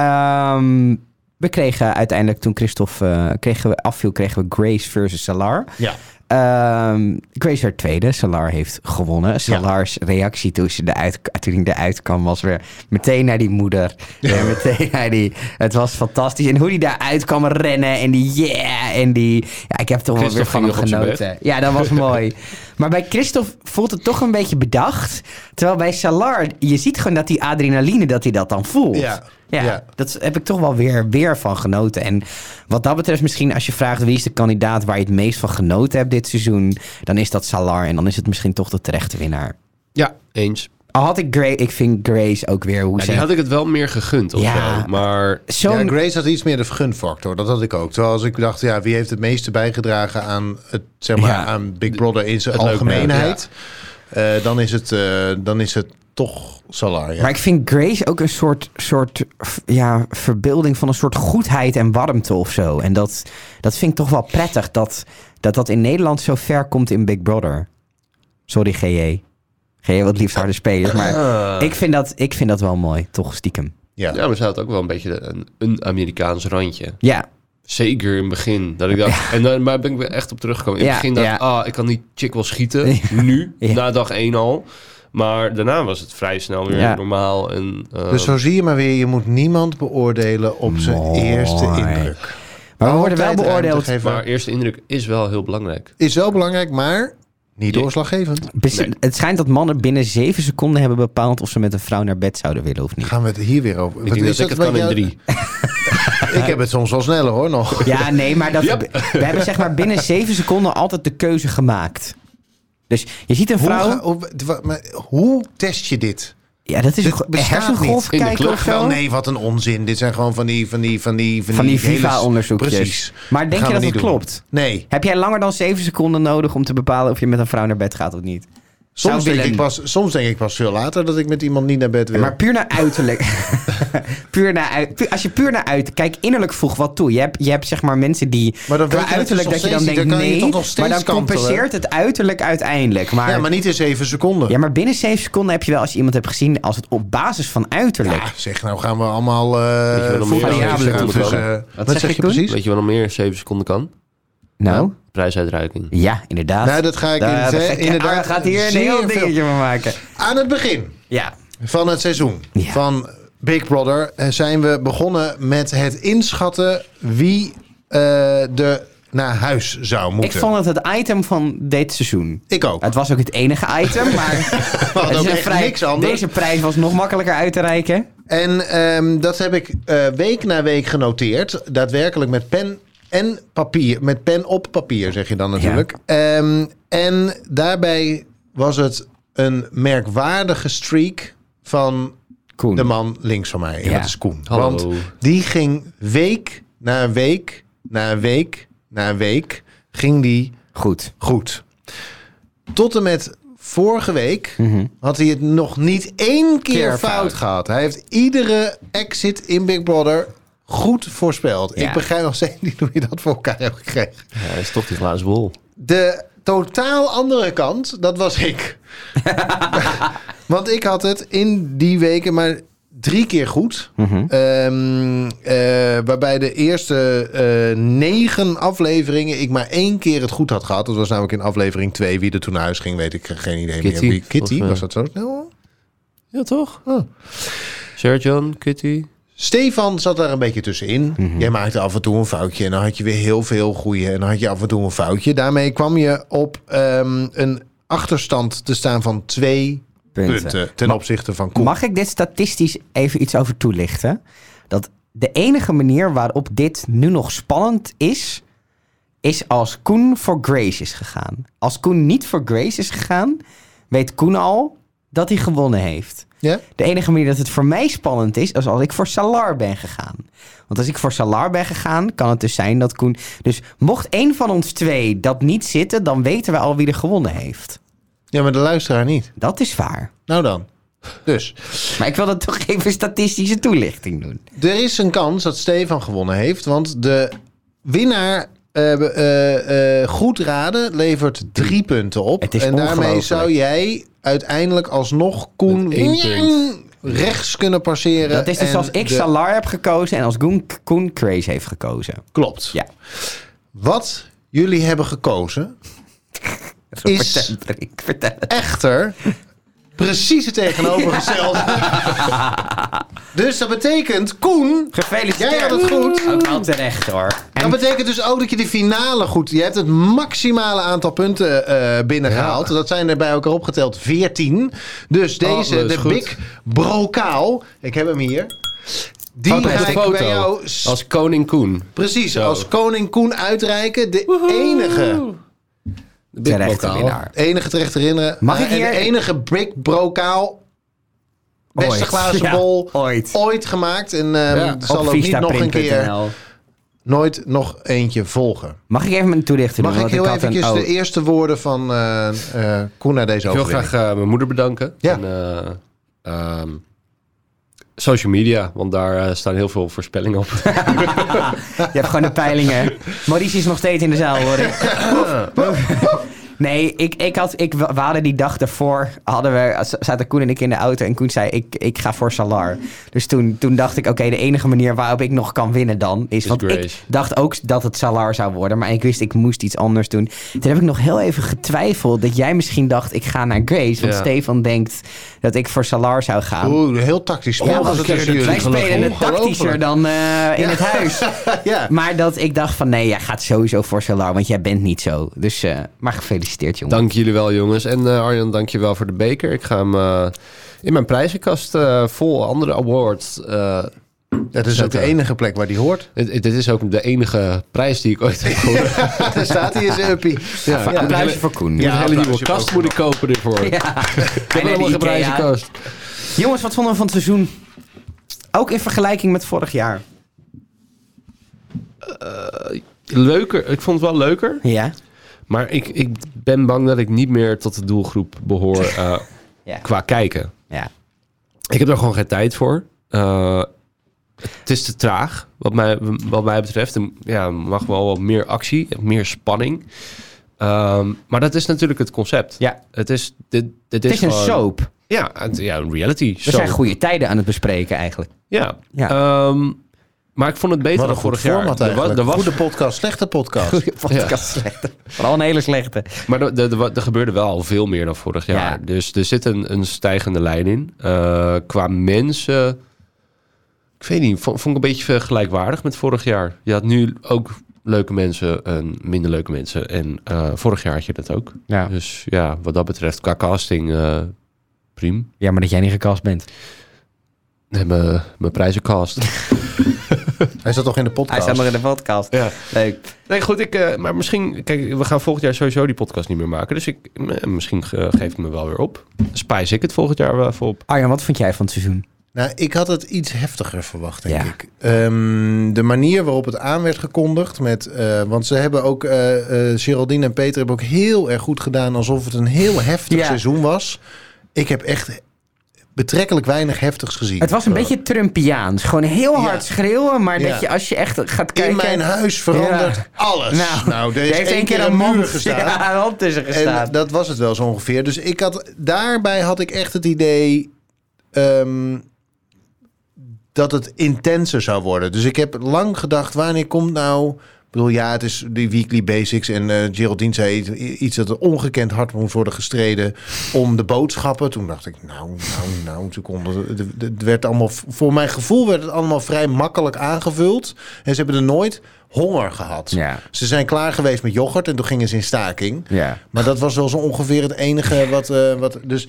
Speaker 1: Ehm, we kregen uiteindelijk, toen Christophe eh, kregen we afviel... kregen we Grace versus Salar.
Speaker 3: Ja.
Speaker 1: Ehm, Grace werd tweede. Salar heeft gewonnen. Salars reactie toen, ze eruit, toen hij eruit kwam was weer meteen naar die moeder. En meteen naar die... Het was fantastisch. En hoe die daaruit kwam rennen en die yeah en die... Ja, ik heb toch wel weer
Speaker 2: Christophe
Speaker 1: van hem
Speaker 2: ging nog op zijn
Speaker 1: genoten. Ja, dat was
Speaker 2: [LAUGHS]
Speaker 1: mooi. Maar bij Christophe voelt het toch een beetje bedacht. Terwijl bij Salar, je ziet gewoon dat die adrenaline, dat hij dat dan voelt.
Speaker 3: Ja,
Speaker 1: Ja,
Speaker 3: ja.
Speaker 1: dat heb ik toch wel weer, weer van genoten. En wat dat betreft, misschien als je vraagt wie is de kandidaat waar je het meest van genoten hebt dit seizoen, dan is dat Salar. En dan is het misschien toch de terechte winnaar.
Speaker 2: Ja, eens.
Speaker 1: Al had ik Grace, ik vind Grace ook weer hoe
Speaker 2: Ja,
Speaker 1: ze.
Speaker 2: die had ik het wel meer gegund of
Speaker 1: Ja.
Speaker 2: zo. Maar
Speaker 1: Zo'n
Speaker 3: Ja, Grace had iets meer de vergunfactor. Dat had ik ook. Terwijl als ik dacht, ja, wie heeft het meeste bijgedragen aan, het, zeg maar,
Speaker 1: Ja.
Speaker 3: aan Big Brother in zijn
Speaker 2: Het leuke,
Speaker 3: algemeenheid. eh, dan, is het, eh, dan is het toch Salar. Ja.
Speaker 1: Maar ik vind Grace ook een soort, soort f- ja, verbeelding van een soort goedheid en warmte of zo. En dat, dat vind ik toch wel prettig dat, dat dat in Nederland zo ver komt in Big Brother. Sorry, GJ. GJ wil het liefst harde spelers, maar
Speaker 2: eh,
Speaker 1: ik vind, dat, ik vind dat wel mooi, toch stiekem.
Speaker 3: Ja.
Speaker 2: ja, maar ze had ook wel een beetje een, een Amerikaans randje.
Speaker 1: Ja,
Speaker 2: Zeker in het begin. Dat ik dacht, en dan, maar ben ik weer echt op teruggekomen. In het
Speaker 1: Ja,
Speaker 2: begin dacht ik, ah, ik kan die chick wel schieten.
Speaker 1: [LAUGHS]
Speaker 2: Nu,
Speaker 1: Ja.
Speaker 2: na dag 1 al. Maar daarna was het vrij snel weer
Speaker 1: Ja.
Speaker 2: normaal. En, eh,
Speaker 3: Dus zo zie je maar weer, je moet niemand beoordelen op zijn
Speaker 1: Mooi.
Speaker 3: eerste indruk.
Speaker 1: Maar we worden wel
Speaker 3: Altijd ruimte
Speaker 1: beoordeeld.
Speaker 3: geven.
Speaker 2: Maar eerste indruk is wel heel belangrijk.
Speaker 3: Is wel belangrijk, maar niet doorslaggevend.
Speaker 1: Bes-
Speaker 2: Nee.
Speaker 1: Het schijnt dat mannen binnen zeven seconden hebben bepaald of ze met een vrouw naar bed zouden willen of niet.
Speaker 3: Gaan we het hier weer over?
Speaker 2: Ik denk dat ik het kan in drie.
Speaker 3: Ik heb het soms wel sneller hoor nog.
Speaker 1: Ja, nee, maar dat, we hebben zeg maar binnen zeven seconden altijd de keuze gemaakt. Dus je ziet een
Speaker 3: Hoe,
Speaker 1: vrouw.
Speaker 3: ga- hoe- wa- maar hoe test je dit?
Speaker 1: ja, dat is
Speaker 3: dit
Speaker 1: een
Speaker 3: bestaat
Speaker 1: hersengolf
Speaker 2: niet in de
Speaker 1: kijken
Speaker 2: club
Speaker 1: of
Speaker 3: Wel
Speaker 1: zo.
Speaker 3: Nou, nee, wat een onzin. Dit zijn gewoon van die van die van die
Speaker 1: Van die
Speaker 3: hele-
Speaker 1: Viva-onderzoekjes.
Speaker 3: Precies.
Speaker 1: Maar denk
Speaker 3: Gaan
Speaker 1: je
Speaker 3: we
Speaker 1: dat
Speaker 3: niet
Speaker 1: het
Speaker 3: doen.
Speaker 1: klopt?
Speaker 3: Nee.
Speaker 1: Heb jij langer dan zeven seconden nodig om te bepalen of je met een vrouw naar bed gaat of niet?
Speaker 3: Soms denk,
Speaker 1: willen.
Speaker 3: ik pas, soms denk ik pas veel later dat ik met iemand niet naar bed wil.
Speaker 1: Maar puur naar uiterlijk.
Speaker 3: [LAUGHS]
Speaker 1: puur naar uit, pu- als je puur naar uit. Kijk, innerlijk voeg wat toe. Je hebt, je hebt zeg maar mensen die.
Speaker 3: Maar dan
Speaker 1: qua
Speaker 3: weet je dat
Speaker 1: uiterlijk
Speaker 3: het
Speaker 1: dat je
Speaker 3: nog
Speaker 1: dan
Speaker 3: steeds-
Speaker 1: denkt
Speaker 3: dan kan je
Speaker 1: nee.
Speaker 3: toch nog
Speaker 1: maar
Speaker 3: steeds
Speaker 1: dan
Speaker 3: kantelen.
Speaker 1: compenseert het uiterlijk uiteindelijk. Maar,
Speaker 3: ja, maar niet in zeven seconden. Ja,
Speaker 1: binnen zeven seconden heb je wel, als je iemand hebt gezien, als het op basis van uiterlijk.
Speaker 3: zeg, nou gaan we allemaal
Speaker 2: Weet je wat
Speaker 3: eh
Speaker 2: nog
Speaker 1: meer?
Speaker 3: voetballen
Speaker 1: Ja,
Speaker 2: natuurlijk
Speaker 3: tussen.
Speaker 2: wel.
Speaker 3: eh, Wat zeg je
Speaker 1: Koen?
Speaker 3: precies?
Speaker 2: Weet je wat nog meer 7 seconden kan?
Speaker 1: nou,
Speaker 2: Ja, prijsuitreiking.
Speaker 1: ja, inderdaad.
Speaker 3: Nou, dat ga ik
Speaker 1: Daar-
Speaker 3: in-
Speaker 1: daar ga ik-
Speaker 3: inderdaad
Speaker 1: ah, gaat hier een
Speaker 3: zeer
Speaker 1: heel
Speaker 3: veel-
Speaker 1: dingetje van maken.
Speaker 3: Aan het begin
Speaker 1: Ja.
Speaker 3: van het seizoen
Speaker 1: Ja.
Speaker 3: van Big Brother eh, zijn we begonnen met het inschatten wie eh er naar huis zou
Speaker 1: Ik
Speaker 3: moeten.
Speaker 1: vond het het item van dit seizoen.
Speaker 3: Ik ook.
Speaker 1: Het was ook het enige
Speaker 3: [LAUGHS]
Speaker 1: item, maar het
Speaker 3: ook
Speaker 1: is een
Speaker 3: echt
Speaker 1: vrij-
Speaker 3: niks anders.
Speaker 1: deze prijs was nog makkelijker uit te reiken.
Speaker 3: En ehm, dat heb ik eh, week na week genoteerd. Daadwerkelijk met pen en papier. Met pen op papier, zeg je dan natuurlijk. Ehm, en daarbij was het een merkwaardige streak van
Speaker 1: Koen.
Speaker 3: de man links van mij. En
Speaker 1: Ja.
Speaker 3: dat is Koen.
Speaker 2: Hallo.
Speaker 3: Want die ging week na week na week na week ging die
Speaker 1: Goed.
Speaker 3: goed. Tot en met vorige week
Speaker 1: Mhm,
Speaker 3: had hij het nog niet één keer
Speaker 1: Keer
Speaker 3: fout,
Speaker 1: fout.
Speaker 3: gehad. Hij heeft iedere exit in Big Brother goed voorspeld.
Speaker 1: Ja.
Speaker 3: Ik begrijp nog steeds niet hoe je dat voor elkaar hebt gekregen.
Speaker 2: Ja, dat is toch die glazen bol.
Speaker 3: De totaal andere kant, dat was ik. [LAUGHS] Want ik had het in die weken maar drie keer goed.
Speaker 1: mhm.
Speaker 3: Ehm, eh, waarbij de eerste eh, negen afleveringen ik maar één keer het goed had gehad. Dat was namelijk in aflevering twee. Wie er toen naar huis ging, weet ik geen idee
Speaker 2: Kitty,
Speaker 3: meer. Wie, Kitty,
Speaker 2: volgens mij.
Speaker 3: was dat zo Nou, snel?
Speaker 2: Ja, toch?
Speaker 3: Oh.
Speaker 2: Sir John, Kitty.
Speaker 3: Stefan zat daar een beetje tussenin.
Speaker 2: Mhm.
Speaker 3: Jij maakte af en toe een foutje en dan had je weer heel veel goeie. En dan had je af en toe een foutje. Daarmee kwam je op ehm, een achterstand te staan van twee
Speaker 1: Punten.
Speaker 3: punten ten opzichte van Koen.
Speaker 1: Mag ik dit statistisch even iets over toelichten? Dat de enige manier waarop dit nu nog spannend is, is als Koen voor Grace is gegaan. Als Koen niet voor Grace is gegaan, weet Koen al dat hij gewonnen heeft.
Speaker 3: Ja?
Speaker 1: De enige manier dat het voor mij spannend is, is als ik voor Salar ben gegaan. Want als ik voor Salar ben gegaan, kan het dus zijn dat Koen... Dus mocht één van ons twee dat niet zitten, dan weten we al wie er gewonnen heeft.
Speaker 3: ja, maar de luisteraar niet.
Speaker 1: Dat is waar.
Speaker 3: Nou dan. Dus,
Speaker 1: Maar ik wil dat toch even statistische toelichting doen.
Speaker 3: er is een kans dat Stefan gewonnen heeft. Want de winnaar eh, eh, eh, goed raden levert drie punten op.
Speaker 1: Het is
Speaker 3: en daarmee
Speaker 1: ongelooflijk.
Speaker 3: zou jij uiteindelijk alsnog Koen
Speaker 2: Met één punt.
Speaker 3: rechts kunnen passeren.
Speaker 1: Dat is dus
Speaker 3: en
Speaker 1: als ik
Speaker 3: de-
Speaker 1: Salar heb gekozen en als Koen, Koen Craze heeft gekozen.
Speaker 3: Klopt.
Speaker 1: Ja.
Speaker 3: Wat jullie hebben gekozen, Is-
Speaker 1: Vertel- [LAUGHS] Ik vertel het.
Speaker 3: echter, precies het
Speaker 1: [LAUGHS]
Speaker 3: tegenovergestelde. dus dat betekent, Koen,
Speaker 1: Gefeliciteerd.
Speaker 3: Jij had het goed.
Speaker 1: Ook wel terecht hoor. En
Speaker 3: dat betekent dus ook dat je de finale goed... Je hebt het maximale aantal punten eh, binnengehaald. Dat zijn er bij elkaar opgeteld 14.
Speaker 1: Oh,
Speaker 3: Dus deze,
Speaker 2: Alles
Speaker 3: de
Speaker 2: goed.
Speaker 3: Big Brokaal, ik heb hem hier... Die
Speaker 1: Foto.
Speaker 3: ga ik
Speaker 2: Foto.
Speaker 3: bij jou
Speaker 2: Als koning Koen.
Speaker 3: Precies,
Speaker 2: Zo.
Speaker 3: als koning Koen uitreiken. De enige,
Speaker 2: De big
Speaker 1: terechte
Speaker 2: bokaal.
Speaker 1: winnaar.
Speaker 3: enige terecht herinneren. Eh,
Speaker 1: Mag ik
Speaker 3: en
Speaker 1: hier-
Speaker 3: de enige Big Brokaal beste
Speaker 1: Ooit.
Speaker 3: glazen
Speaker 1: [LAUGHS] Ja,
Speaker 3: bol
Speaker 1: ooit.
Speaker 3: ooit gemaakt. En ehm
Speaker 2: Ja.
Speaker 3: er zal
Speaker 1: Op
Speaker 3: ook niet nog een keer,
Speaker 1: vista.nl.
Speaker 3: nooit nog eentje volgen.
Speaker 1: Mag ik even mijn toelichting
Speaker 3: Mag
Speaker 1: doen?
Speaker 3: ik
Speaker 1: Want
Speaker 3: heel
Speaker 1: had een-
Speaker 3: eventjes
Speaker 1: oh.
Speaker 3: de eerste woorden van eh eh Koen naar deze
Speaker 2: Ik wil
Speaker 3: overwinning?
Speaker 2: graag eh, mijn moeder bedanken.
Speaker 3: Ja.
Speaker 2: En, eh, ehm, social media, want daar eh, staan heel veel voorspellingen op.
Speaker 3: [LAUGHS]
Speaker 1: Je hebt gewoon de peilingen. Maurice is nog steeds in de zaal, hoor ik. Nee, ik, ik had, ik, we hadden die dag daarvoor, hadden we, z- zaten Koen en ik in de auto en Koen zei, ik, ik ga voor Salar. Dus toen, toen dacht ik, oké, de enige manier waarop ik nog kan winnen dan, is, want
Speaker 2: Grace.
Speaker 1: ik dacht ook dat het Salar zou worden, maar ik wist, ik moest iets anders doen. Toen heb ik nog heel even getwijfeld dat jij misschien dacht, ik ga naar Grace, want
Speaker 2: Ja.
Speaker 1: Stefan denkt dat ik voor Salar zou gaan.
Speaker 3: Oeh, heel tactisch.
Speaker 1: Ja,
Speaker 3: spel was het
Speaker 1: want
Speaker 3: tussen
Speaker 1: wij
Speaker 3: jullie.
Speaker 1: spelen het tactischer dan eh, in
Speaker 3: Ja.
Speaker 1: het huis. [LAUGHS]
Speaker 3: [LAUGHS] Ja.
Speaker 1: Maar dat ik dacht van nee, jij gaat sowieso voor Solar, want jij bent niet zo. Dus, eh, maar gefeliciteerd jongen.
Speaker 2: Dank jullie wel, jongens. En eh, Arjan, dank je wel voor de beker. Ik ga hem eh, in mijn prijzenkast eh, vol andere awards. eh,
Speaker 3: Dat is ook de enige plek waar die hoort.
Speaker 2: dit- dit is ook de enige prijs die ik ooit heb gewonnen.
Speaker 3: Daar staat hij in zijn uppie. Ja,
Speaker 1: Een applausje voor Koen.
Speaker 2: Ja,
Speaker 3: Ja,
Speaker 2: een hele
Speaker 3: applaus.
Speaker 2: nieuwe kast moet ik kopen ervoor. Ik
Speaker 1: Ja.
Speaker 2: heb helemaal geen prijzenkast.
Speaker 1: Jongens, wat vonden we van het seizoen? Ook in vergelijking met vorig jaar.
Speaker 2: Leuker, ik vond het wel leuker.
Speaker 1: Ja.
Speaker 2: Maar ik, ik ben bang dat ik niet meer tot de doelgroep behoor eh,
Speaker 1: Ja.
Speaker 2: qua kijken.
Speaker 1: ja.
Speaker 2: Ik heb daar gewoon geen tijd voor. Eh, het is te traag, wat mij, wat mij betreft. Er ja, mag wel wat meer actie, meer spanning. Ehm, maar dat is natuurlijk het concept.
Speaker 1: ja.
Speaker 2: Het is, dit, dit
Speaker 1: Het is een
Speaker 2: gewoon-
Speaker 1: soap. We
Speaker 2: Ja, het- ja, een reality show.
Speaker 1: zijn goede tijden aan het bespreken [LAUGHS] eigenlijk.
Speaker 2: Ja.
Speaker 1: Ja.
Speaker 2: Ehm, maar ik vond het beter
Speaker 3: Wat een
Speaker 2: dan
Speaker 3: goed
Speaker 2: vorig jaar.
Speaker 3: format
Speaker 2: Er wa-
Speaker 3: eigenlijk.
Speaker 2: er was,
Speaker 3: Goede podcast, slechte
Speaker 2: [LAUGHS]
Speaker 3: podcast.
Speaker 1: podcast slechte. Vooral een hele slechte.
Speaker 2: maar er, er- er wa- er gebeurde wel al veel meer dan vorig jaar.
Speaker 1: Ja.
Speaker 2: Dus er zit een, een stijgende lijn in. Eh, qua mensen... Ik weet niet, vond, vond ik een beetje gelijkwaardig met vorig jaar. Je had nu ook leuke mensen en minder leuke mensen. En eh, vorig jaar had je dat ook.
Speaker 1: Ja.
Speaker 2: Dus ja, wat dat betreft, qua casting, eh prima.
Speaker 1: ja, maar dat jij niet gecast bent.
Speaker 2: Nee, mijn mijn prijzencast.
Speaker 3: Hij zat toch in de
Speaker 1: Hij
Speaker 3: podcast?
Speaker 1: staat nog in de podcast.
Speaker 2: Ja.
Speaker 1: Leuk.
Speaker 2: [LAUGHS] Nee, goed, ik, eh, maar misschien... Kijk, we gaan volgend jaar sowieso die podcast niet meer maken. Dus ik, eh, misschien eh, geef ik me wel weer op. Spijs ik het volgend jaar wel even op.
Speaker 1: Arjan, wat vond jij van het seizoen?
Speaker 3: Nou, ik had het iets heftiger verwacht, denk
Speaker 1: Ja.
Speaker 3: ik. Ehm, de manier waarop het aan werd gekondigd. Met, eh, want ze hebben ook, eh, eh, Geraldine en Peter hebben ook heel erg goed gedaan. Alsof het een heel
Speaker 1: [LAUGHS]
Speaker 3: heftig
Speaker 1: Ja.
Speaker 3: seizoen was. Ik heb echt betrekkelijk weinig heftigs gezien.
Speaker 1: Het was een beetje Trumpiaans. Gewoon heel
Speaker 3: Eh. Ja.
Speaker 1: hard schreeuwen, maar
Speaker 3: Ja.
Speaker 1: dat je als je echt gaat kijken...
Speaker 3: In mijn huis verandert
Speaker 1: Ja.
Speaker 3: alles. Nou, er is
Speaker 1: heeft
Speaker 3: één keer een muur
Speaker 1: [LAUGHS]
Speaker 3: gestaan.
Speaker 1: Ja, een hand tussen gestaan.
Speaker 3: En dat was het wel zo ongeveer. Dus ik had, daarbij had ik echt het idee ehm, dat het intenser zou worden. Dus ik heb lang gedacht, wanneer komt nou... Ik bedoel, ja, het is die weekly basics. En eh Geraldine zei iets- iets dat er ongekend hard moest worden gestreden om de boodschappen. Toen dacht ik, nou, nou, nou. Toen konden, het- het werd allemaal, voor mijn gevoel werd het allemaal vrij makkelijk aangevuld. En ze hebben er nooit honger gehad.
Speaker 1: Ja.
Speaker 3: Ze zijn klaar geweest met yoghurt en toen gingen ze in staking.
Speaker 1: ja.
Speaker 3: Maar dat was wel zo ongeveer het enige wat... eh, wat dus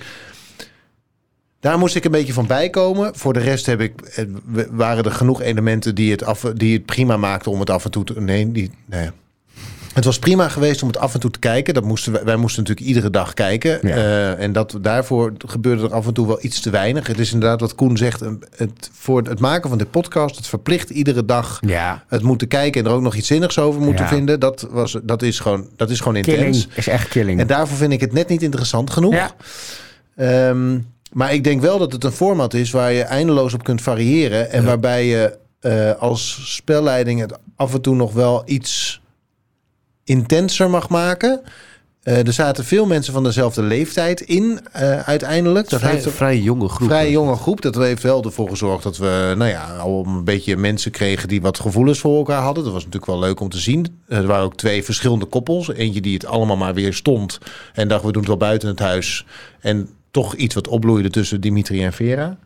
Speaker 3: daar moest ik een beetje van bijkomen. Voor de rest heb ik, eh, w- waren er genoeg elementen die het, af, die het prima maakten om het af en toe te... Nee, die, nee. Het was prima geweest om het af en toe te kijken. Dat moesten wij, wij moesten natuurlijk iedere dag kijken.
Speaker 1: Ja.
Speaker 3: Eh, en dat, daarvoor gebeurde er af en toe wel iets te weinig. Het is inderdaad wat Koen zegt. een- Het, voor het maken van de podcast, het verplicht iedere dag
Speaker 1: ja.
Speaker 3: het moeten kijken en er ook nog iets zinnigs over moeten
Speaker 1: Ja.
Speaker 3: vinden. Dat, was, dat, is gewoon, dat is gewoon intens.
Speaker 1: Killing. Is echt killing.
Speaker 3: En daarvoor vind ik het net niet interessant genoeg.
Speaker 1: ja.
Speaker 3: Ehm, maar ik denk wel dat het een format is waar je eindeloos op kunt variëren. En waarbij je eh, als spelleiding het af en toe nog wel iets intenser mag maken. Eh, er zaten veel mensen van dezelfde leeftijd in eh, uiteindelijk. Dat heeft er-
Speaker 2: vrij jonge groep.
Speaker 3: vrij jonge groep. Dat heeft wel ervoor gezorgd dat we nou ja, al een beetje mensen kregen die wat gevoelens voor elkaar hadden. Dat was natuurlijk wel leuk om te zien. Er waren ook twee verschillende koppels. Eentje die het allemaal maar weer stond en dacht we doen het wel buiten het huis. En toch iets wat opbloeide tussen Dimitri en Vera.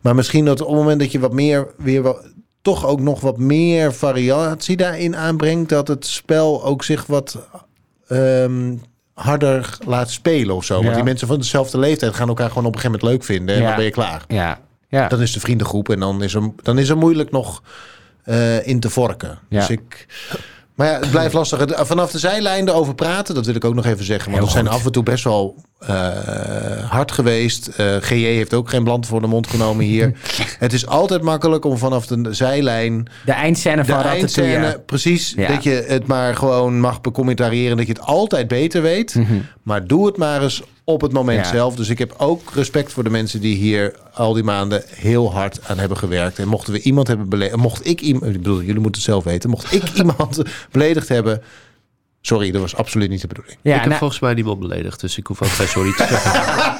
Speaker 3: Maar misschien dat op het moment dat je wat meer weer wel, toch ook nog wat meer variatie daarin aanbrengt, dat het spel ook zich wat ehm, harder laat spelen of zo.
Speaker 1: Ja.
Speaker 3: Want die mensen van dezelfde leeftijd gaan elkaar gewoon op een gegeven moment leuk vinden en
Speaker 1: Ja.
Speaker 3: dan ben je klaar.
Speaker 1: ja. Ja.
Speaker 3: Dan is de vriendengroep en dan is er, dan is er moeilijk nog eh, in te vorken.
Speaker 1: Ja.
Speaker 3: Dus ik. Maar ja, het blijft lastig. Het- eh, Vanaf de zijlijn erover praten, dat wil ik ook nog even zeggen. Want
Speaker 1: Heel
Speaker 3: we zijn
Speaker 1: goed.
Speaker 3: af en toe best wel eh, hard geweest. Eh, GJ heeft ook geen bland voor de mond genomen
Speaker 1: [LAUGHS]
Speaker 3: hier. het is altijd makkelijk om vanaf de zijlijn
Speaker 1: De eindscène
Speaker 3: de
Speaker 1: van Ratatouille.
Speaker 3: eindscène, precies,
Speaker 1: Ja.
Speaker 3: dat je het maar gewoon mag becommentariëren, dat je het altijd beter weet. Maar doe het maar eens op het moment
Speaker 1: Mhm. Ja.
Speaker 3: zelf. Dus ik heb ook respect voor de mensen die hier al die maanden heel hard aan hebben gewerkt. En mochten we
Speaker 1: [LAUGHS]
Speaker 3: iemand hebben beledigd, mocht ik iemand, ik bedoel, jullie moeten het zelf weten, mocht ik iemand beledigd hebben, Sorry, dat was absoluut niet de bedoeling.
Speaker 2: ik
Speaker 1: Ja,
Speaker 2: heb
Speaker 1: nou,
Speaker 2: volgens mij niemand beledigd, dus ik hoef ook geen sorry te
Speaker 3: [LAUGHS]
Speaker 2: zeggen.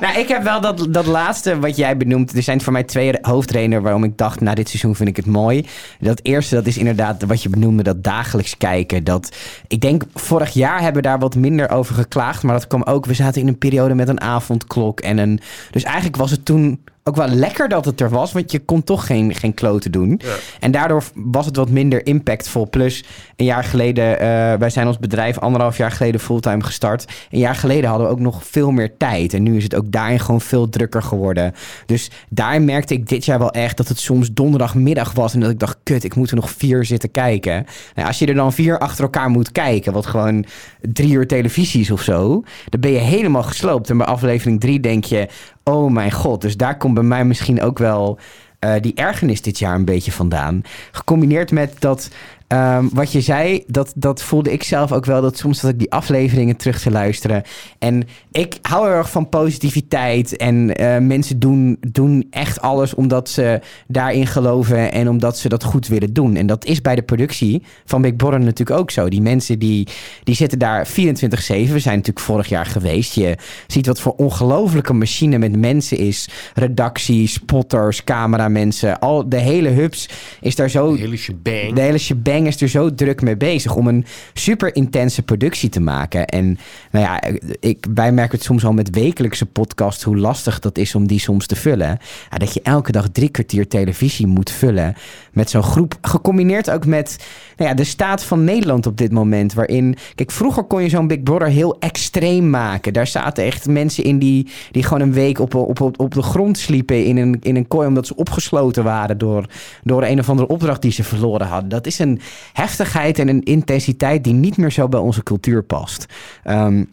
Speaker 1: nou, ik heb wel dat, dat laatste wat jij benoemt. Er zijn voor mij twee re- hoofdredenen waarom ik dacht... na dit seizoen vind ik het mooi. Dat eerste, dat is inderdaad wat je benoemde, dat dagelijks kijken. Dat, ik denk, vorig jaar hebben we daar wat minder over geklaagd. Maar dat kwam ook... We zaten in een periode met een avondklok en een... Dus eigenlijk was het toen ook wel lekker dat het er was. Want je kon toch geen, geen kloten doen. En daardoor was het wat minder impactvol. Plus, een jaar geleden... eh, wij zijn ons bedrijf anderhalf jaar geleden fulltime gestart. Een jaar geleden hadden we ook nog veel meer tijd. En nu is het ook daarin gewoon veel drukker geworden. Dus daar merkte ik dit jaar wel echt... dat het soms donderdagmiddag was. En dat ik dacht, kut, ik moet er nog vier zitten kijken. Nou, als je er dan vier achter elkaar moet kijken... wat gewoon drie uur televisie is of zo... dan ben je helemaal gesloopt. En bij aflevering drie denk je... Oh mijn god, dus daar komt bij mij misschien ook wel eh, die ergernis dit jaar een beetje vandaan. Gecombineerd met dat, ehm, wat je zei, dat, dat voelde ik zelf ook wel. Dat soms dat ik die afleveringen terug te luisteren. En ik hou heel erg van positiviteit. En eh, mensen doen, doen echt alles omdat ze daarin geloven en omdat ze dat goed willen doen. En dat is bij de productie van Big Brother natuurlijk ook zo. Die mensen die, die zitten daar 24-7. We zijn natuurlijk vorig jaar geweest. Je ziet wat voor ongelofelijke machine met mensen is. Redactie, spotters, cameramensen. Al de hele hubs is daar zo...
Speaker 2: Hele shebang.
Speaker 1: De hele shebang is er zo druk mee bezig om een super intense productie te maken. En nou ja, ik, wij merken het soms al met wekelijkse podcasts hoe lastig dat is om die soms te vullen. Ja, dat je elke dag drie kwartier televisie moet vullen met zo'n groep. Gecombineerd ook met nou ja, de staat van Nederland op dit moment. Waarin, kijk, vroeger kon je zo'n Big Brother heel extreem maken. Daar zaten echt mensen in die, die gewoon een week op, op, op, op de grond sliepen in een, in een kooi omdat ze opgesloten waren door, door een of andere opdracht die ze verloren hadden. Dat is een heftigheid en een intensiteit die niet meer zo bij onze cultuur past. Ehm,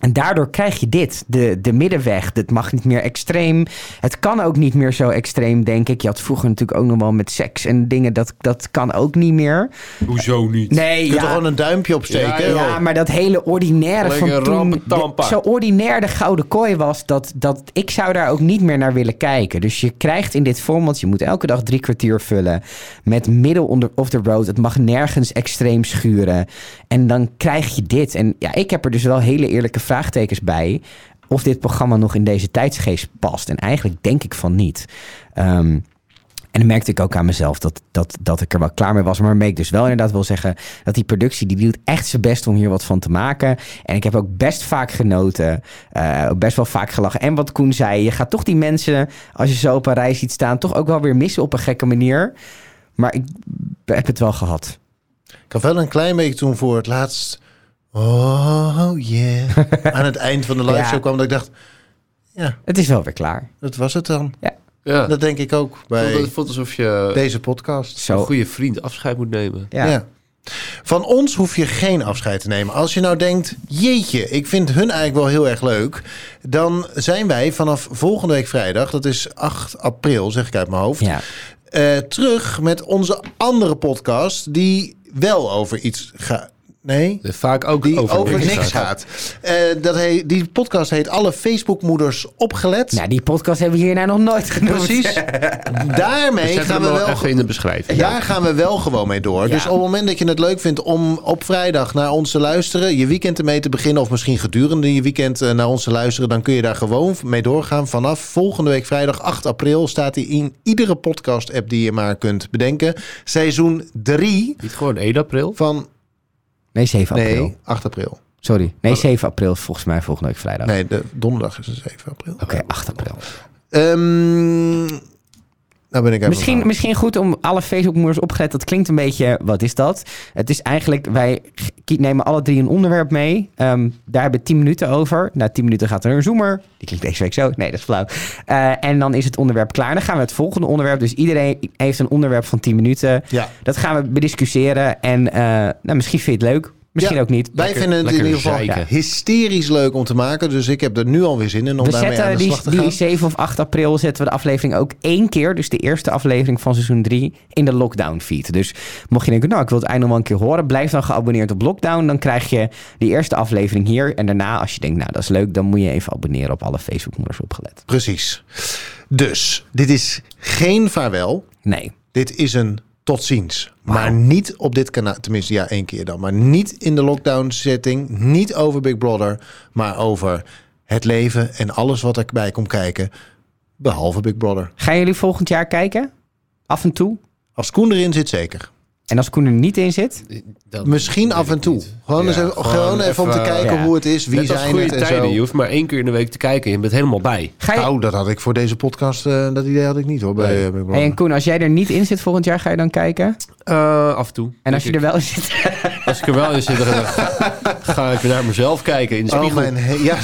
Speaker 1: en daardoor krijg je dit, de, de middenweg. Het mag niet meer extreem. Het kan ook niet meer zo extreem, denk ik. Je had vroeger natuurlijk ook nog wel met seks en dingen. Dat, dat kan ook niet meer.
Speaker 2: Hoezo niet?
Speaker 1: Nee,
Speaker 3: Je kunt er gewoon een duimpje op steken.
Speaker 1: ja, ja, maar dat hele ordinaire van
Speaker 2: Lekker
Speaker 1: toen,
Speaker 2: rampetampa.
Speaker 1: de- zo ordinair de gouden kooi was, dat, dat ik zou daar ook niet meer naar willen kijken. Dus je krijgt in dit format, je moet elke dag drie kwartier vullen met middel onder of the road. Het mag nergens extreem schuren. En dan krijg je dit. En ja, ik heb er dus wel hele eerlijke vraagtekens bij of dit programma nog in deze tijdsgeest past. En eigenlijk denk ik van niet. Ehm, en dan merkte ik ook aan mezelf dat, dat, dat ik er wel klaar mee was. Maar waarmee ik dus wel inderdaad wil zeggen dat die productie, die doet echt zijn best om hier wat van te maken. En ik heb ook best vaak genoten, eh, ook best wel vaak gelachen. En wat Koen zei, je gaat toch die mensen, als je zo op een rij ziet staan, toch ook wel weer missen op een gekke manier. Maar ik heb het wel gehad.
Speaker 3: Ik had wel een klein beetje toen voor het laatst... Oh
Speaker 1: [LAUGHS]
Speaker 3: yeah. Aan het eind van de live
Speaker 1: Ja.
Speaker 3: show kwam dat ik dacht... Ja,
Speaker 1: Het is wel weer klaar.
Speaker 3: dat was het dan.
Speaker 2: Ja.
Speaker 3: Dat denk ik ook bij
Speaker 2: Het eh, voelt alsof je
Speaker 3: deze podcast.
Speaker 2: een
Speaker 1: Zo.
Speaker 2: goede vriend afscheid moet nemen.
Speaker 1: Ja.
Speaker 3: Ja. Van ons hoef je geen afscheid te nemen. Als je nou denkt, jeetje, ik vind hun eigenlijk wel heel erg leuk. Dan zijn wij vanaf volgende week vrijdag, dat is 8 april, zeg ik uit mijn hoofd.
Speaker 1: Ja.
Speaker 3: eh, terug met onze andere podcast, die wel over iets gaat. Nee?
Speaker 2: Vaak ook
Speaker 3: Die over, niks gaat. Eh, dat he- die podcast heet Alle Facebookmoeders opgelet.
Speaker 1: Nou, die podcast hebben we hierna nog nooit genoemd.
Speaker 3: Precies.
Speaker 2: We
Speaker 3: Daarmee gaan
Speaker 2: zetten Dus hem
Speaker 3: we
Speaker 2: wel
Speaker 3: wel
Speaker 2: even in de beschrijving.
Speaker 3: Daar gaan we wel gewoon mee door.
Speaker 1: Ja.
Speaker 3: Dus op het moment dat je het leuk vindt om op vrijdag naar ons te luisteren, je weekend ermee te beginnen, of misschien gedurende je weekend eh, naar ons te luisteren, dan kun je daar gewoon mee doorgaan. Vanaf volgende week vrijdag 8 april staat hij in iedere podcast-app die je maar kunt bedenken. Seizoen 3
Speaker 2: Niet gewoon 1 april?
Speaker 3: van.
Speaker 1: Nee, 7 april.
Speaker 3: Nee, 8 april.
Speaker 1: Sorry. Nee, 7 april volgens mij volgende week vrijdag.
Speaker 3: Nee, de, donderdag is het 7 april.
Speaker 1: Oké, 8 april.
Speaker 3: Ehm nou ben ik even.
Speaker 1: Misschien, misschien goed om alle Facebookmoeders opgelet. Dat klinkt een beetje, wat is dat? Het is eigenlijk, wij kie- nemen alle drie een onderwerp mee. Ehm, daar hebben we 10 minuten over. Na 10 minuten gaat er een zoomer. Die klinkt deze week zo. Nee, dat is flauw. Eh, en dan is het onderwerp klaar. Dan gaan we het volgende onderwerp. Dus iedereen heeft een onderwerp van 10 minuten.
Speaker 3: Ja.
Speaker 1: Dat gaan we bediscussiëren. En eh, nou, misschien vind je het leuk. Misschien
Speaker 3: Ja,
Speaker 1: ook niet.
Speaker 3: Wij vinden het in
Speaker 2: lekker
Speaker 3: ieder geval
Speaker 2: zeiken.
Speaker 3: hysterisch leuk om te maken. Dus ik heb er nu alweer zin in om
Speaker 1: We
Speaker 3: daarmee aan
Speaker 1: zetten
Speaker 3: de
Speaker 1: die,
Speaker 3: slag te gaan.
Speaker 1: die 7 of 8 april zetten we de aflevering ook één keer, dus de eerste aflevering van seizoen 3, in de lockdown feed. Dus mocht je denken, nou ik wil het einde nog wel een keer horen, blijf dan geabonneerd op lockdown. Dan krijg je die eerste aflevering hier. En daarna, als je denkt, nou dat is leuk, dan moet je even abonneren op alle Facebookmoeders opgelet.
Speaker 3: Precies. Dus, dit is geen vaarwel.
Speaker 1: Nee.
Speaker 3: Dit is een tot ziens.
Speaker 1: Wauw.
Speaker 3: Maar niet op dit kanaal. Tenminste, ja, één keer dan. Maar niet in de lockdown setting. Niet over Big Brother. Maar over het leven en alles wat erbij komt kijken. Behalve Big Brother.
Speaker 1: Gaan jullie volgend jaar kijken? Af en toe?
Speaker 3: Als Koen erin zit, zeker.
Speaker 1: En als Koen er niet in zit?
Speaker 2: Dat
Speaker 3: Misschien
Speaker 2: weet
Speaker 3: af
Speaker 2: ik
Speaker 3: en toe.
Speaker 2: niet.
Speaker 3: Gewoon,
Speaker 2: Ja,
Speaker 3: eens even, gewoon even, om te kijken
Speaker 1: ja.
Speaker 3: hoe het is. Wie
Speaker 2: Net als
Speaker 3: zijn
Speaker 2: goede
Speaker 3: het en
Speaker 2: tijden.
Speaker 3: zo.
Speaker 2: Je hoeft maar één keer in de week te kijken. Je bent helemaal bij.
Speaker 1: Ga je...
Speaker 3: Nou, dat had ik voor deze podcast. eh, dat idee had ik niet hoor. Bij,
Speaker 2: Nee.
Speaker 3: eh, Big
Speaker 1: Hey,
Speaker 3: Brother.
Speaker 1: en Koen, als jij er niet in zit volgend jaar, ga je dan kijken?
Speaker 2: Eh, af en toe.
Speaker 1: En als je
Speaker 2: Denk
Speaker 1: er wel in zit?
Speaker 2: ik. als ik er wel in zit, dan ga, ga ik naar mezelf kijken in de
Speaker 3: Oh,
Speaker 2: spiegel.
Speaker 3: mijn he- ja.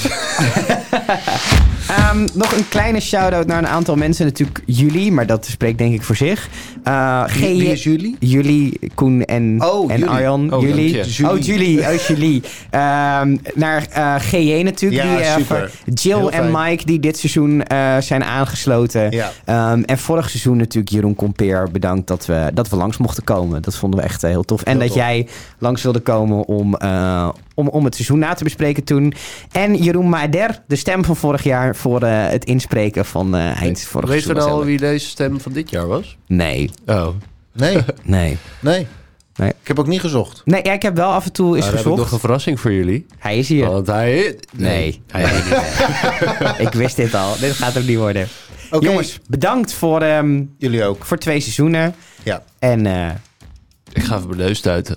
Speaker 1: Ehm, nog een kleine shout-out naar een aantal mensen. Natuurlijk jullie, maar dat spreekt denk ik voor zich. Eh G-
Speaker 3: Wie wie is jullie?
Speaker 1: Jullie, Koen en,
Speaker 3: Oh,
Speaker 1: en
Speaker 3: jullie.
Speaker 1: Arjan.
Speaker 2: Oh,
Speaker 1: jullie.
Speaker 2: dank
Speaker 3: je.
Speaker 1: Oh, jullie. Oh,
Speaker 3: [LAUGHS]
Speaker 1: jullie. Ehm, naar eh GJ natuurlijk.
Speaker 3: Ja,
Speaker 1: die, eh,
Speaker 3: super.
Speaker 1: voor Jill
Speaker 3: Heel
Speaker 1: en
Speaker 3: fijn.
Speaker 1: Mike die dit seizoen eh, zijn aangesloten.
Speaker 3: Ja.
Speaker 1: Ehm, en vorig seizoen natuurlijk Jeroen Compeer bedankt dat we, dat we langs mochten komen. Dat vonden we echt eh, heel tof. En
Speaker 3: Heel
Speaker 1: dat
Speaker 3: tof.
Speaker 1: jij langs wilde komen om, eh, om, om het seizoen na te bespreken toen. En Jeroen Maeder, de stem van vorig jaar, voor eh, het inspreken van eh eind vorig
Speaker 2: Weet je
Speaker 1: seizoen.
Speaker 2: nou al
Speaker 1: was
Speaker 2: wie deze stem van dit jaar was?
Speaker 1: heel- Nee,
Speaker 2: Oh. [LAUGHS]
Speaker 3: Nee,
Speaker 1: nee.
Speaker 3: nee.
Speaker 1: Nee.
Speaker 3: Ik heb ook niet gezocht.
Speaker 1: Nee, ja, ik heb wel af en toe
Speaker 2: Is
Speaker 1: eens
Speaker 2: Nou, heb ik
Speaker 1: gezocht.
Speaker 2: nog een verrassing voor jullie.
Speaker 1: Hij is hier.
Speaker 2: Want hij...
Speaker 1: Nee.
Speaker 2: Hij niet.
Speaker 1: [LAUGHS] ik wist dit al. Dit gaat hem niet worden.
Speaker 3: Oké.
Speaker 1: Jongens, bedankt voor, ehm,
Speaker 3: Jullie ook.
Speaker 1: voor twee seizoenen.
Speaker 3: Ja.
Speaker 1: En, eh,
Speaker 2: Ik ga even mijn neus stuiten.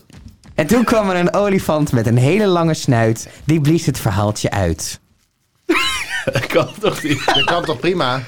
Speaker 1: en toen kwam er een olifant met een hele lange snuit. Die blies het verhaaltje uit.
Speaker 2: Dat [LAUGHS] kan toch niet?
Speaker 3: Dat kan toch prima?